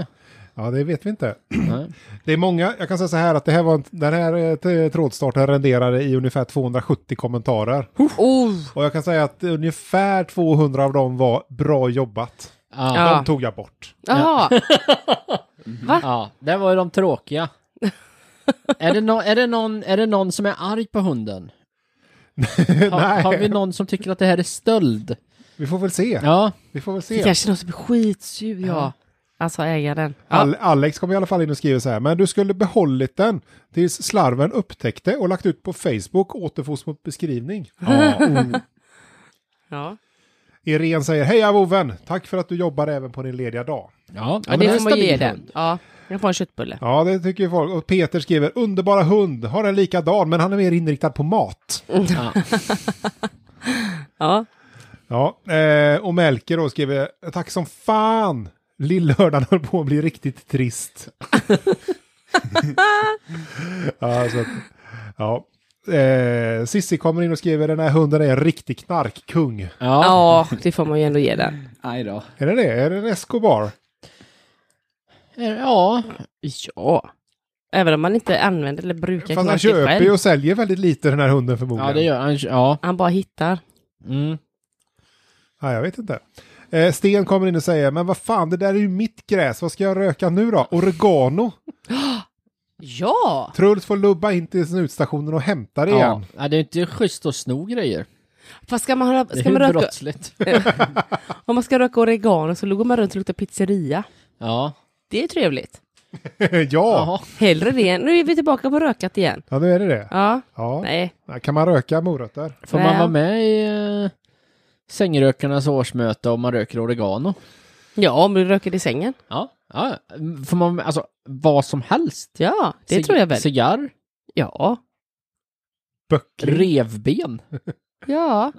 Speaker 1: Ja, det vet vi inte.
Speaker 4: Nej.
Speaker 1: <clears throat> Det är många, jag kan säga så här att det här var en, den här eh, t- trådstarten renderade i ungefär 270 kommentarer.
Speaker 2: Oh,
Speaker 1: Och jag kan säga att ungefär 200 av dem var bra jobbat.
Speaker 4: Ja.
Speaker 2: Ja.
Speaker 1: De tog jag bort.
Speaker 2: jaha.
Speaker 4: ja. Det var ju de tråkiga. är, det nå är, det någon, är det någon som är arg
Speaker 2: <laughs>
Speaker 4: på hunden? Ha,
Speaker 1: Nej,
Speaker 4: har vi
Speaker 1: vi...
Speaker 4: någon som tycker att det här är stöld?
Speaker 1: får väl se.
Speaker 4: Ja.
Speaker 1: Vi får väl
Speaker 2: Det
Speaker 1: se.
Speaker 2: kanske är någon som är skitsur, ja. Alltså ägaren. Ja.
Speaker 1: Al- Alex kom i alla fall in och skriver så här, men du skulle behållit den tills slarven upptäckte och lagt
Speaker 2: <laughs>
Speaker 1: ut på Facebook återfos mot beskrivning.
Speaker 4: Ja.
Speaker 2: ja.
Speaker 1: Irene säger Hej voven! Tack för att du jobbar även på din lediga dag.
Speaker 4: Ja,
Speaker 2: Ja,
Speaker 4: men det är
Speaker 2: det
Speaker 4: en
Speaker 2: får man ge
Speaker 4: stabil
Speaker 2: den.
Speaker 4: hund.
Speaker 2: Ja, jag får en köttbulle.
Speaker 1: Ja, det tycker ju folk. Och Peter skriver Underbara hund! Har en likadan men han är mer inriktad på mat.
Speaker 4: Ja.
Speaker 2: Ja.
Speaker 1: Ja, eh, och Melker då skriver Tack som fan! Lillördan höll på att bli riktigt trist. <laughs> ja, så att, ja. Eh, Sissi kommer in och skriver den här hunden är en riktig knarkkung.
Speaker 4: ja.
Speaker 2: ja, det får man ju ändå ge den.
Speaker 3: Aj då.
Speaker 1: Är det det? Är det en Escobar?
Speaker 4: Ja.
Speaker 2: Ja. Även om man inte använder eller brukar
Speaker 1: Fast han
Speaker 2: knarket
Speaker 1: köper
Speaker 2: själv.
Speaker 1: ju och säljer väldigt lite den här hunden förmodligen.
Speaker 4: Ja, det gör han. Ja.
Speaker 2: Han bara hittar.
Speaker 4: Mm.
Speaker 1: Ja, jag vet inte. Eh, Sten kommer in och säger, men vad fan, det där är ju mitt gräs, vad ska jag röka nu då? Oregano?
Speaker 2: Ja!
Speaker 1: Truls får lubba in till snutstationen och hämta det
Speaker 4: Ja.
Speaker 1: igen. <laughs>
Speaker 4: ja, det är inte schysst att sno grejer.
Speaker 2: Fast ska man, ha,
Speaker 4: Det är
Speaker 2: ska
Speaker 4: hur
Speaker 2: man röka, <laughs>
Speaker 4: brottsligt.
Speaker 2: om man ska röka oregano så går man runt och luktar pizzeria.
Speaker 4: Ja.
Speaker 2: Det är trevligt.
Speaker 1: ja.
Speaker 4: Jaha.
Speaker 2: Hellre det. än- Nu är vi tillbaka på rökat igen.
Speaker 1: ja, nu är det det.
Speaker 2: Ja,
Speaker 1: Ja.
Speaker 2: nej.
Speaker 1: Kan man röka morötter?
Speaker 4: Får
Speaker 2: Nej.
Speaker 4: man vara med i eh, sängrökarnas årsmöte om man röker oregano?
Speaker 2: Ja, om du röker i sängen.
Speaker 4: Ja. ja. Får man alltså vad som helst?
Speaker 2: Ja, det
Speaker 4: Cig-
Speaker 2: tror jag väl.
Speaker 4: Cigarr?
Speaker 2: Ja.
Speaker 1: Böckling?
Speaker 4: Revben?
Speaker 2: Ja.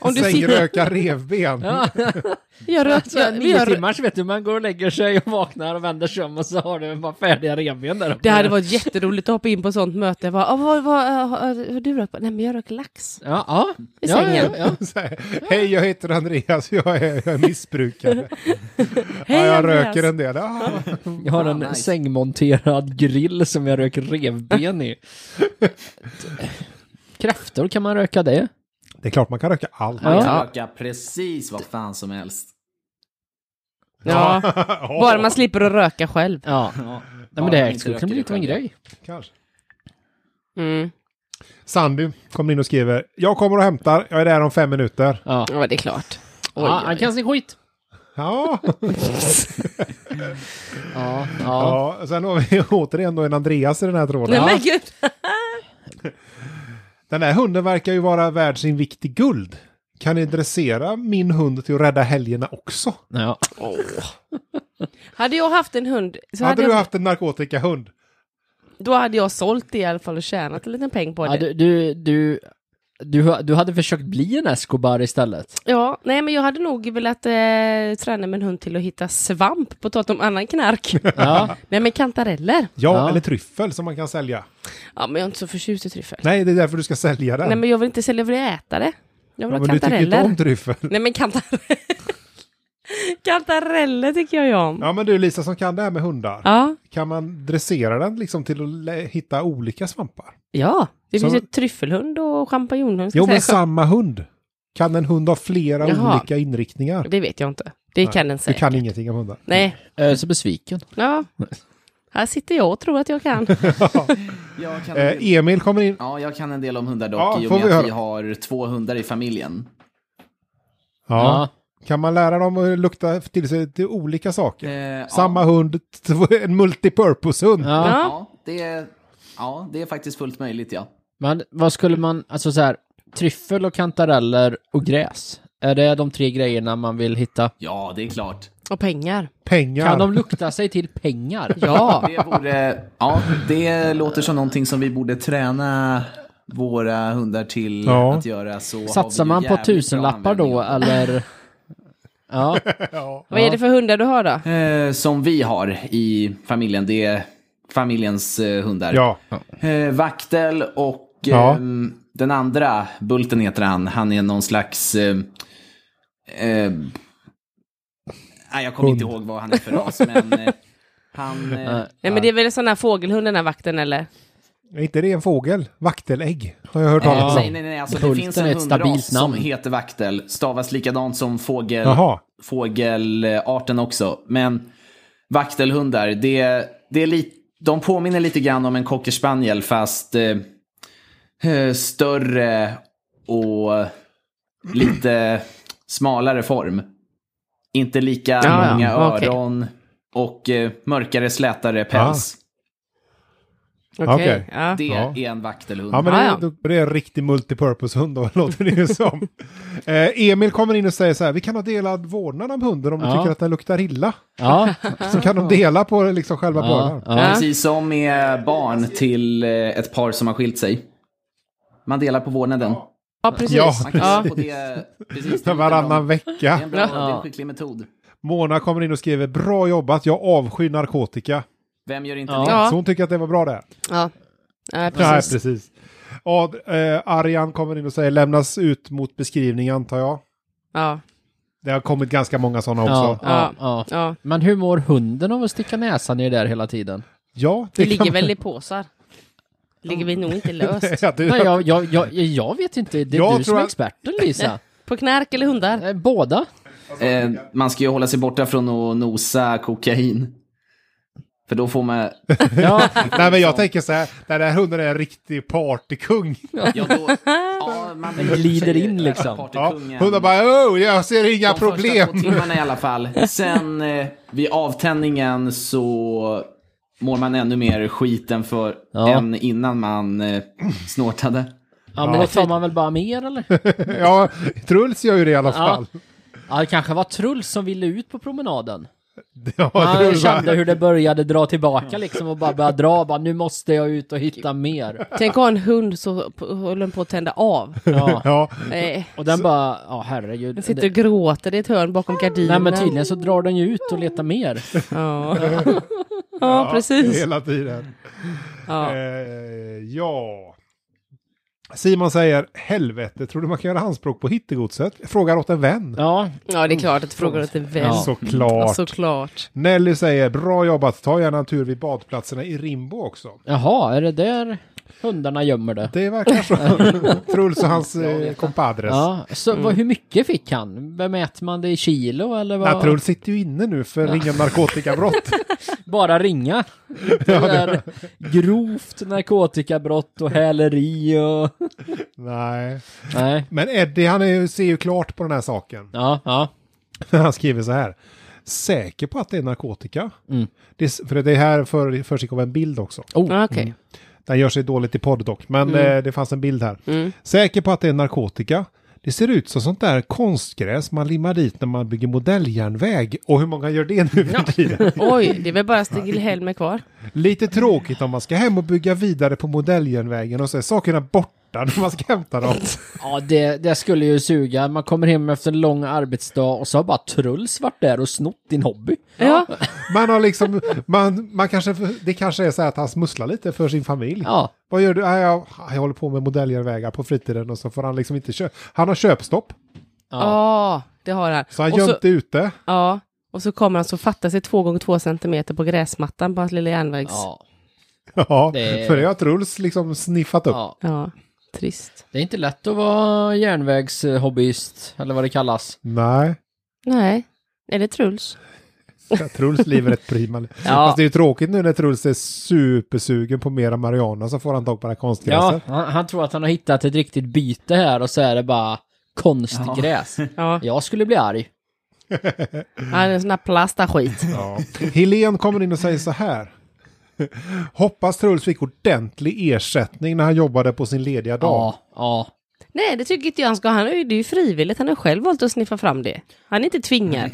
Speaker 2: Om du sitter...
Speaker 1: Sängröka revben?
Speaker 4: Ja.
Speaker 2: Jag röker... <laughs>
Speaker 4: Så
Speaker 2: Jag,
Speaker 4: Alltså, nio
Speaker 2: jag,
Speaker 4: timmars vet du, man går och lägger sig och vaknar och vänder sig om och så har du bara färdiga revben där uppe.
Speaker 2: det hade varit jätteroligt att hoppa in på ett sånt möte. Jag Bara, ah, vad, vad, ah, har du rökt? Nej, men jag röker lax.
Speaker 4: Ja, ja.
Speaker 2: I
Speaker 4: ja, ja,
Speaker 2: sängen.
Speaker 1: <laughs>
Speaker 4: ja.
Speaker 1: Så här, Hej, jag heter Andreas, jag är, jag är
Speaker 2: <laughs>
Speaker 1: missbrukare. ja, jag
Speaker 2: Andreas.
Speaker 1: röker en del. Ja.
Speaker 2: <laughs>
Speaker 4: Jag har en
Speaker 3: Ah, nice.
Speaker 4: sängmonterad grill som jag röker revben i. <laughs> Kräftor, kan man röka det?
Speaker 1: Det är klart man kan röka allt.
Speaker 3: Man kan
Speaker 4: Ja.
Speaker 3: röka precis vad fan som helst.
Speaker 2: Ja.
Speaker 1: Ja,
Speaker 2: Bara man slipper att röka själv.
Speaker 4: Ja.
Speaker 3: Ja,
Speaker 4: Nej, men det här skulle kunna bli lite av en grej.
Speaker 1: kanske.
Speaker 2: Mm.
Speaker 1: Sandy kommer in och skriver, jag kommer och hämtar, jag är där om fem minuter.
Speaker 4: Ja.
Speaker 2: Ja, det är klart. Oj,
Speaker 4: ja,
Speaker 2: oj.
Speaker 4: han kan sin skit.
Speaker 2: <laughs>
Speaker 1: Ja,
Speaker 4: Ja, ja.
Speaker 1: ja. sen har vi <laughs> återigen då en Andreas i den här tråden.
Speaker 2: Nej, men gud.
Speaker 1: Den här hunden verkar ju vara värd sin vikt i guld. Kan ni dressera min hund till att rädda helgerna också?
Speaker 4: Ja.
Speaker 2: Hade jag haft en hund, så hade
Speaker 1: hade du
Speaker 2: jag,
Speaker 1: haft en narkotikahund?
Speaker 2: då hade jag sålt det i alla fall och tjänat en liten peng på det.
Speaker 4: Ja, du, du, du, du, du hade försökt bli en Escobar istället.
Speaker 2: Ja, nej men jag hade nog velat eh, träna min hund till att hitta svamp, på tal om
Speaker 1: <laughs>
Speaker 2: annan knark.
Speaker 4: Ja,
Speaker 2: nej men kantareller.
Speaker 1: Ja,
Speaker 4: Ja.
Speaker 1: eller tryffel som man kan sälja.
Speaker 2: Ja men jag är inte så förtjust i tryffel. Nej,
Speaker 1: Nej, det är därför du ska sälja den.
Speaker 2: men jag vill inte sälja, jag vill äta det. Jag
Speaker 1: Ja,
Speaker 2: vill ha
Speaker 1: men du tycker ju
Speaker 2: kantareller.
Speaker 1: inte om tryffel.
Speaker 2: Nej men kantareller. <laughs> kantareller tycker jag ju om. Ja.
Speaker 1: Ja, men du Lisa som kan det här med hundar. Kan man dressera den liksom till att lä- hitta olika svampar?
Speaker 2: Ja, det
Speaker 1: Så-
Speaker 2: finns ju tryffelhund och champinjonhund. ska
Speaker 1: Jo,
Speaker 2: jag
Speaker 1: men
Speaker 2: säga.
Speaker 1: samma hund. Kan en hund ha flera
Speaker 2: Jaha.
Speaker 1: olika inriktningar?
Speaker 2: Det vet jag inte. Det kan den
Speaker 1: Du
Speaker 2: säga.
Speaker 1: kan ingenting om hundar.
Speaker 2: Nej,
Speaker 4: jag är Eh, så besviken.
Speaker 2: ja. Här sitter jag och tror att
Speaker 1: <laughs>
Speaker 2: jag kan.
Speaker 3: Jag kan en del-
Speaker 1: Eh, Emil kommer in.
Speaker 3: Ja, jag kan en del om hundar dock,
Speaker 1: Ja,
Speaker 3: i och
Speaker 1: får
Speaker 3: med
Speaker 1: vi
Speaker 3: att vi
Speaker 1: höra.
Speaker 3: har två hundar i familjen.
Speaker 1: Ja. Kan man lära dem att lukta till sig till olika saker?
Speaker 3: Eh,
Speaker 1: Samma
Speaker 3: ja,
Speaker 1: hund, t- en multipurpose-hund.
Speaker 4: Ja.
Speaker 2: Ja.
Speaker 3: ja, det är, ja, det är faktiskt fullt möjligt, ja.
Speaker 4: Men vad skulle man, alltså så här, tryffel och kantareller och gräs. Är det de tre grejerna man vill hitta?
Speaker 3: Ja, det är klart.
Speaker 2: Och pengar.
Speaker 1: Pengar.
Speaker 4: Kan de lukta sig till pengar?
Speaker 2: Ja.
Speaker 3: Det, borde, ja, det låter som någonting som vi borde träna våra hundar till
Speaker 1: Ja.
Speaker 3: att göra. Så har
Speaker 4: Satsar
Speaker 3: vi ju
Speaker 4: man på
Speaker 3: jävligt bra
Speaker 4: tusenlappar
Speaker 3: användning
Speaker 4: då,
Speaker 3: av dem.
Speaker 4: eller? Ja,
Speaker 1: ja.
Speaker 2: Vad är det för hundar du har då?
Speaker 3: Eh, som vi har i familjen, det är familjens eh, hundar.
Speaker 1: ja.
Speaker 3: Eh, Vaktel och eh,
Speaker 1: Ja.
Speaker 3: den andra, Bulten heter han, han är någon slags... Eh, eh, nej, jag kommer
Speaker 1: Hund.
Speaker 3: inte ihåg vad han är för ras, men eh, han... Eh,
Speaker 2: Nej men det är väl en sån här fågelhund den här vakten eller?
Speaker 1: Är inte det en fågel? Vaktelägg, har jag hört talas
Speaker 3: Nej,
Speaker 1: om.
Speaker 3: nej, nej, alltså det
Speaker 4: Bulten
Speaker 3: finns
Speaker 4: är
Speaker 3: en
Speaker 4: ett stabilt
Speaker 3: hundras som
Speaker 4: namn.
Speaker 3: heter Vaktel, stavas likadant som fågel,
Speaker 1: Jaha.
Speaker 3: fågelarten också. Men vaktelhundar, det, det är lite, de påminner lite grann om en cocker spaniel, fast eh, eh, större och lite smalare form. Inte lika
Speaker 2: Ja, ja,
Speaker 3: många
Speaker 2: okej.
Speaker 3: öron och eh, mörkare, slätare päls.
Speaker 2: Okej.
Speaker 1: Okej.
Speaker 2: Ja.
Speaker 3: Det
Speaker 1: Ja.
Speaker 3: är en vaktelhund.
Speaker 1: Ja, men
Speaker 2: Ah,
Speaker 1: det, då- det är en riktig multipurpose-hund då, <laughs> låter det ju som. Eh, Emil kommer in och säger så här, vi kan ha delad vårdnad om hunden om du
Speaker 4: Ja.
Speaker 1: tycker att den luktar illa.
Speaker 4: Ja,
Speaker 2: Ah.
Speaker 1: Så kan de dela på liksom själva
Speaker 4: ja,
Speaker 1: bördan.
Speaker 4: ja.
Speaker 3: Precis som med barn till eh, ett par som har skilt sig. Man delar på vårdnaden.
Speaker 2: ja, precis.
Speaker 1: Ja.
Speaker 3: Man kan
Speaker 2: Ja.
Speaker 3: dela på det, precis, det
Speaker 1: <laughs>
Speaker 3: är
Speaker 1: Varannan
Speaker 3: en bra- Det är
Speaker 1: vecka.
Speaker 3: en bra, det är
Speaker 4: Ja.
Speaker 3: en skicklig metod.
Speaker 1: Mona kommer in och skriver, bra jobbat, jag avskyr narkotika.
Speaker 3: Vem gör inte
Speaker 4: Ja.
Speaker 3: det?
Speaker 2: Ja.
Speaker 1: Så hon tycker att det var bra det.
Speaker 2: Ja. Ja,
Speaker 1: Nej,
Speaker 2: precis.
Speaker 1: precis. Ad, eh, Arjan kommer in och säger, lämnas ut mot beskrivning antar jag.
Speaker 2: Ja.
Speaker 1: Det har kommit ganska många sådana
Speaker 4: Ja,
Speaker 1: också.
Speaker 4: ja, ja.
Speaker 2: Ja.
Speaker 4: Men hur mår hunden av att sticka näsan i det där hela tiden?
Speaker 1: Ja,
Speaker 2: Det
Speaker 1: kan
Speaker 2: ligger
Speaker 1: man-
Speaker 2: väl i påsar? Ligger vi nog inte löst?
Speaker 1: Ja, du-
Speaker 4: Nej, jag, jag, jag, jag vet inte. Det är
Speaker 1: Jag tror
Speaker 4: du som är
Speaker 1: att-
Speaker 4: experten, Lisa.
Speaker 2: På knark eller hundar?
Speaker 4: Eh, Båda?
Speaker 3: Eh, man ska ju hålla sig borta från att nosa kokain. För då får man...
Speaker 4: Ja,
Speaker 1: Nej, men jag tänker så här, den här hunden är en riktig partykung.
Speaker 3: Ja, då, ja, man blir-
Speaker 4: Glider in liksom.
Speaker 1: Ja,
Speaker 3: Partykungen.
Speaker 1: hunden bara, oh, jag ser inga
Speaker 3: De
Speaker 1: problem.
Speaker 3: första två timmarna i alla fall. Sen eh, vid avtändningen så mår man ännu mer skiten för
Speaker 4: Ja.
Speaker 3: än innan man eh, snortade.
Speaker 4: ja men då tar man väl bara mer eller?
Speaker 1: <laughs> ja, Truls gör ju det i alla fall.
Speaker 4: Ja, det kanske var Truls som ville ut på promenaden.
Speaker 1: Ja,
Speaker 4: Han
Speaker 1: Truls bara,
Speaker 4: kände hur det började dra tillbaka liksom och bara började dra. Bara, nu måste jag ut och hitta mer.
Speaker 2: Tänk att ha en hund så p- håller den på att tända av.
Speaker 4: Ja.
Speaker 1: ja,
Speaker 2: Nej.
Speaker 4: Och den bara, ja herregud.
Speaker 2: Den sitter och gråter i ett hörn bakom
Speaker 4: Nej
Speaker 2: gardinen.
Speaker 4: men tydligen så drar den ju ut och letar mer.
Speaker 2: Ja, ja precis.
Speaker 1: hela tiden.
Speaker 2: Ja.
Speaker 1: Eh, ja. Simon säger, helvete, tror du man kan göra anspråk på hittegodset? Frågar åt en vän.
Speaker 4: Ja,
Speaker 2: ja, det är klart att frågan inte är vem.
Speaker 4: Ja.
Speaker 1: Såklart.
Speaker 2: Alltså- såklart.
Speaker 1: Nelly säger, bra jobbat, ta gärna en tur vid badplatserna i Rimbo också.
Speaker 4: jaha, är det där hundarna gömmer det?
Speaker 1: Det verkar så. Truls och hans eh, compadres.
Speaker 4: Ja, så vad, hur mycket fick han? Mäter man det i kilo eller vad?
Speaker 1: Nej, Truls sitter ju inne nu för ringa narkotikabrott.
Speaker 4: Bara ringa? Det där grovt narkotikabrott och häleri och...
Speaker 1: Nej.
Speaker 4: Nej.
Speaker 1: Men Eddie, han är, ju- ser ju klart på den här saken. <laughs>
Speaker 4: Ja, ja.
Speaker 1: Han skriver så här. Säker på att det är narkotika? Det, är- för det här för, försiggår en bild också.
Speaker 2: Ja, Okej.
Speaker 1: Den gör sig dåligt i podd dock, men eh, det fanns en bild här. Säker på att det är narkotika? Det ser ut som sånt där konstgräs man limmar dit när man bygger modelljärnväg. Och hur många gör det nu för tiden? <laughs>
Speaker 2: Oj, det är väl bara Stig Helmer kvar.
Speaker 1: Lite tråkigt om man ska hem och bygga vidare på modelljärnvägen och så är sakerna borta när man ska hämta dem.
Speaker 4: Ja, det, det skulle ju suga. Man kommer hem efter en lång arbetsdag och så har bara Truls varit där och snott din hobby.
Speaker 2: Ja,
Speaker 1: Man har liksom, man, man kanske, det kanske är så här att han smusslar lite för sin familj.
Speaker 4: Ja,
Speaker 1: Vad gör du? Ah, jag, jag håller på med modelljärnvägar på fritiden och så får han liksom inte köpa. Han har köpstopp,
Speaker 2: ja. det har han.
Speaker 1: så han
Speaker 2: Och så-
Speaker 1: gömt det ute. <laughs>
Speaker 2: Ja, och så kommer han så fattar sig två gånger två centimeter på gräsmattan på hans lilla järnvägs... Ja.
Speaker 4: ja,
Speaker 1: Ja,
Speaker 4: Det-
Speaker 1: för det har Truls liksom sniffat upp.
Speaker 4: ja.
Speaker 2: trist.
Speaker 4: Det är inte lätt att vara järnvägshobbyist, eller vad det kallas.
Speaker 1: Nej,
Speaker 2: Nej, är det Truls?
Speaker 1: Truls liv är rätt prima.
Speaker 4: <laughs>
Speaker 1: Fast Alltså, det är ju tråkigt nu när Truls är supersugen på mera Mariana så får han tag på det här
Speaker 4: Ja,
Speaker 1: konstgräset.
Speaker 4: han, han tror att han har hittat ett riktigt byte här och så är det bara konstgräs.
Speaker 1: <laughs>
Speaker 2: Ja,
Speaker 4: Jag skulle bli arg.
Speaker 2: han är en sån där plastaskit.
Speaker 1: Ja. Helen kommer in och säger så här. Hoppas Truls fick ordentlig ersättning när han jobbade på sin lediga dag.
Speaker 4: Ja, ja.
Speaker 2: Nej, det tycker inte jag han ska. Han är ju, det är ju frivilligt. Han har själv valt att sniffa fram det. Han är inte tvingad.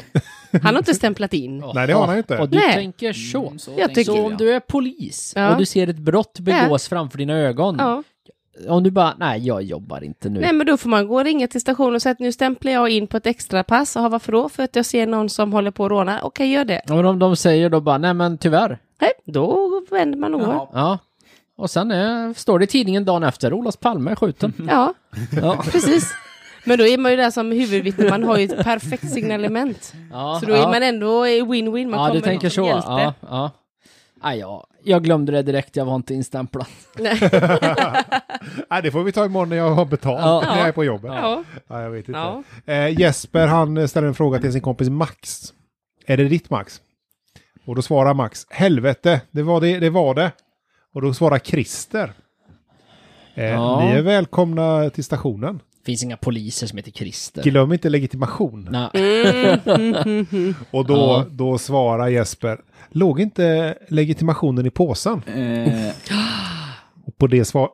Speaker 2: Han har inte stämplat in.
Speaker 1: Nej, det har han inte.
Speaker 4: Och du
Speaker 2: Nej.
Speaker 4: tänker Mm, så.
Speaker 3: så
Speaker 2: Jag tycker-
Speaker 4: Så om
Speaker 3: jag.
Speaker 4: du är polis
Speaker 2: Ja.
Speaker 4: och du ser ett brott begås framför dina ögon.
Speaker 2: Ja.
Speaker 4: Om du bara, nej jag jobbar inte nu.
Speaker 2: Nej, men då får man gå och ringa till stationen och säga att nu stämplar jag in på ett extra pass. Aha, varför då? För att jag ser någon som håller på att råna. Okej, gör det.
Speaker 4: Ja, Men om de säger då bara, nej men tyvärr.
Speaker 2: Nej, då vänder man och går.
Speaker 3: Ja.
Speaker 4: Ja. Och sen eh, står det i tidningen dagen efter, Olof Palme
Speaker 1: <laughs>
Speaker 4: är skjuten.
Speaker 2: Ja,
Speaker 4: Ja.
Speaker 2: precis. Men då är man ju där som huvudvittne. Man har ju ett perfekt signalement.
Speaker 4: Ja,
Speaker 2: Så då är man ändå i win-win. Man
Speaker 4: ja,
Speaker 2: kommer
Speaker 4: du tänker så.
Speaker 2: som hjälte.
Speaker 4: Ja, ja. Nej, ja. Jag glömde det direkt, jag var inte instämplad.
Speaker 1: Nej, det får vi ta imorgon när jag har betalt,
Speaker 4: Ja.
Speaker 1: när jag är på jobbet.
Speaker 2: Ja.
Speaker 1: Ja, jag vet inte.
Speaker 2: Ja.
Speaker 1: Eh, Jesper, han eh, ställer en fråga till sin kompis Max. Är det ditt Max? Och då svarar Max, helvete, det var det, det var det. Och då svarar Christer. Eh,
Speaker 4: Ja.
Speaker 1: Ni är välkomna till stationen.
Speaker 4: finns inga poliser som heter Christer.
Speaker 1: Glöm inte legitimation.
Speaker 4: Nej.
Speaker 1: Och då,
Speaker 4: Ja.
Speaker 1: då svarar Jesper, låg inte legitimationen i påsen?
Speaker 3: Eh,
Speaker 1: Och på det, svar,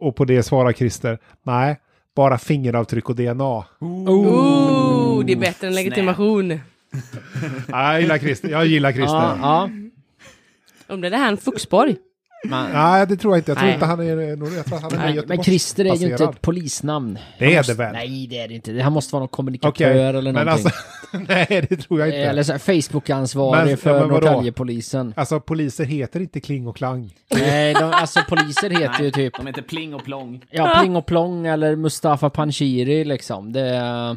Speaker 1: och på det svarar Christer, nej, bara fingeravtryck och DNA.
Speaker 2: Oh, det är bättre än legitimation.
Speaker 1: Nej, jag gillar Christer. Jag gillar
Speaker 4: Ja,
Speaker 1: Christer. Mm.
Speaker 4: ja.
Speaker 2: Om det är han Fuxborg.
Speaker 1: Nej, det tror jag inte. Jag tror
Speaker 2: Nej.
Speaker 1: inte han är... nog- Jag tror att han är
Speaker 4: Nej, men Christer är ju inte typ
Speaker 1: Göteborgsbaserad.
Speaker 4: ett polisnamn.
Speaker 1: Det
Speaker 4: Han
Speaker 1: är
Speaker 4: måste,
Speaker 1: det väl?
Speaker 4: Nej, det är det inte. Han måste vara någon kommunikatör
Speaker 1: Okej,
Speaker 4: eller
Speaker 1: men
Speaker 4: någonting.
Speaker 1: alltså... <laughs> nej, det tror jag inte.
Speaker 4: eller så här Facebook-ansvarig
Speaker 1: Men- ja,
Speaker 4: för
Speaker 1: men vadå?
Speaker 4: Norrtäljepolisen.
Speaker 1: Alltså, poliser heter inte Kling och
Speaker 4: <laughs>
Speaker 1: Klang.
Speaker 4: Nej, de, alltså poliser heter ju
Speaker 3: nej,
Speaker 4: typ
Speaker 3: de heter Pling och Plong.
Speaker 4: Ja, Pling och Plong eller Mustafa Panshiri liksom. Det... är-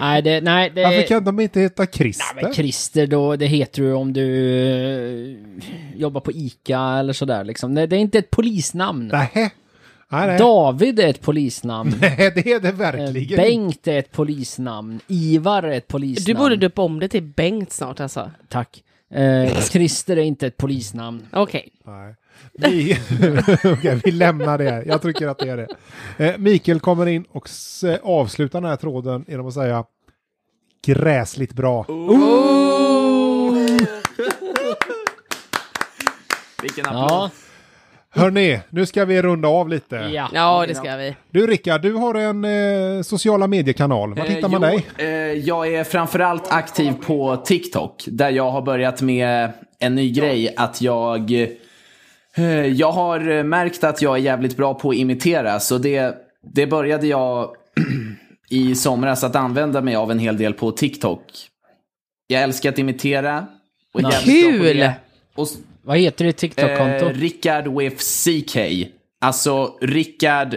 Speaker 4: nej, det... Nej, det...
Speaker 1: Varför kan de inte heta
Speaker 4: Nej, men
Speaker 1: Christer?
Speaker 4: Christer då, det heter du om du eh, jobbar på ICA eller sådär liksom. Nej, det är inte ett polisnamn.
Speaker 1: Nej, nej. nej.
Speaker 4: David är ett polisnamn.
Speaker 1: <laughs> Nej, det är det <laughs>
Speaker 4: Eh,
Speaker 1: verkligen.
Speaker 4: Bengt är ett polisnamn. Ivar är ett
Speaker 2: Du
Speaker 4: polisnamn.
Speaker 2: borde döpa om det till Bengt snart alltså.
Speaker 4: Tack. Eh, Christer är inte ett polisnamn.
Speaker 2: Okej.
Speaker 1: Nej. Vi, <laughs> Okej, vi lämnar det. Jag tycker att det är det. Eh, Mikael kommer in och s- avslutar den här tråden genom att säga gräsligt bra.
Speaker 3: Vilken applåd.
Speaker 4: Ja.
Speaker 1: Hörni, nu ska vi runda av lite.
Speaker 4: ja.
Speaker 2: Ja, det ska vi.
Speaker 1: Du Rickard, du har en eh, sociala mediekanal. Var hittar man
Speaker 3: Eh,
Speaker 1: dig?
Speaker 3: jo, eh, jag är framförallt aktiv på TikTok, där jag har börjat med en ny grej. Att jag, eh, jag har eh, märkt att jag är jävligt bra på att imitera, så det, det började jag <clears throat> i somras att använda mig av en hel del på TikTok. Jag älskar att imitera. Och är
Speaker 4: Nice.
Speaker 3: jävligt bra på
Speaker 2: Kul!
Speaker 3: det. Och, s-
Speaker 4: Vad heter ditt TikTok-konto?
Speaker 3: eh, Rickard with CK. Alltså Rickard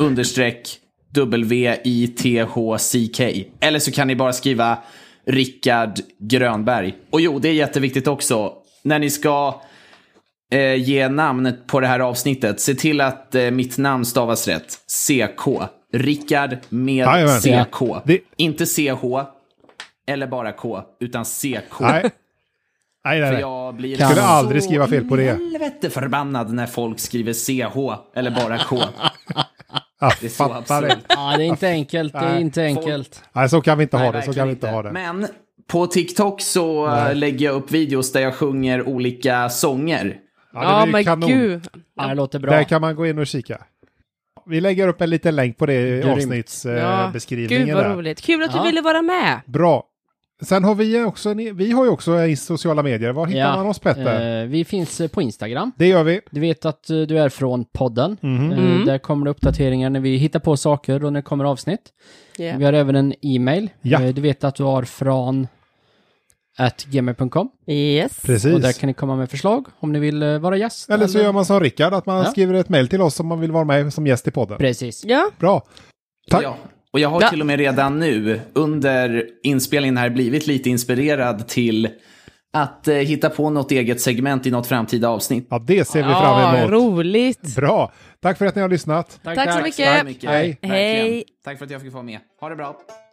Speaker 3: understreck W-I-T-H-C-K. Eller så kan ni bara skriva Rickard Grönberg. Och jo, det är jätteviktigt också. När ni ska eh, ge namnet på det här avsnittet, se till att eh, mitt namn stavas rätt. CK. Rickard med
Speaker 1: Jajamän.
Speaker 3: CK.
Speaker 1: Det-
Speaker 3: Inte CH eller bara K, utan CK.
Speaker 1: Nej. Nej, nej,
Speaker 3: För
Speaker 1: nej.
Speaker 3: jag blir liksom
Speaker 1: Skulle
Speaker 3: så
Speaker 1: aldrig skriva fel på det.
Speaker 3: helvete förbannad när folk skriver CH eller bara K.
Speaker 1: Jag
Speaker 3: Det är så
Speaker 1: fattar det.
Speaker 3: absurt.
Speaker 4: Ja, det är inte enkelt. Det är inte enkelt.
Speaker 1: Nej, så kan vi inte ha det. Så
Speaker 3: verkligen
Speaker 1: kan vi inte ha det.
Speaker 3: Men på TikTok så eh, lägger jag upp videos där jag sjunger olika sånger.
Speaker 1: det
Speaker 2: Ja,
Speaker 1: blir
Speaker 2: men
Speaker 1: kanon.
Speaker 2: gud.
Speaker 4: Ja, det låter
Speaker 1: Där
Speaker 4: bra.
Speaker 1: kan man gå in och kika. Vi lägger upp en liten länk på det i
Speaker 4: Grymt.
Speaker 2: Ja.
Speaker 1: avsnittsbeskrivningen.
Speaker 2: Gud vad
Speaker 1: där.
Speaker 2: roligt. Kul att du
Speaker 4: Ja.
Speaker 2: ville vara med.
Speaker 1: Bra. Sen har vi också, en, vi har ju också i sociala medier. Var hittar man oss Petter?
Speaker 4: Eh, vi finns eh, på Instagram.
Speaker 1: Det gör vi.
Speaker 4: Du vet att eh, du är från podden.
Speaker 1: Mhm.
Speaker 4: Eh,
Speaker 2: Mm.
Speaker 4: Där kommer det uppdateringar när vi hittar på saker och när det kommer avsnitt.
Speaker 2: Ja.
Speaker 4: Vi har även en e-mail.
Speaker 1: Ja.
Speaker 4: Eh, Du vet att du har från at gmail.com.
Speaker 2: Yes.
Speaker 4: Och där
Speaker 1: Precis.
Speaker 4: kan ni komma med förslag om ni vill eh, vara gäst.
Speaker 1: Eller så gör man som Rickard, att man
Speaker 4: Ja.
Speaker 1: skriver ett mejl till oss om man vill vara med som gäst i podden.
Speaker 4: Precis.
Speaker 2: Ja,
Speaker 1: Bra. Tack.
Speaker 3: Ja. Och jag har
Speaker 2: Ja.
Speaker 3: till och med redan nu under inspelningen här blivit lite inspirerad till att eh, hitta på något eget segment i något framtida avsnitt.
Speaker 1: Ja, det ser vi fram
Speaker 2: ja
Speaker 1: emot.
Speaker 2: roligt.
Speaker 1: Bra. Tack för att ni har lyssnat.
Speaker 2: Tack så
Speaker 3: Tack
Speaker 2: mycket.
Speaker 3: så mycket.
Speaker 1: Hej.
Speaker 3: Verkligen.
Speaker 2: Hej.
Speaker 3: Tack för att jag fick vara med. Ha det bra.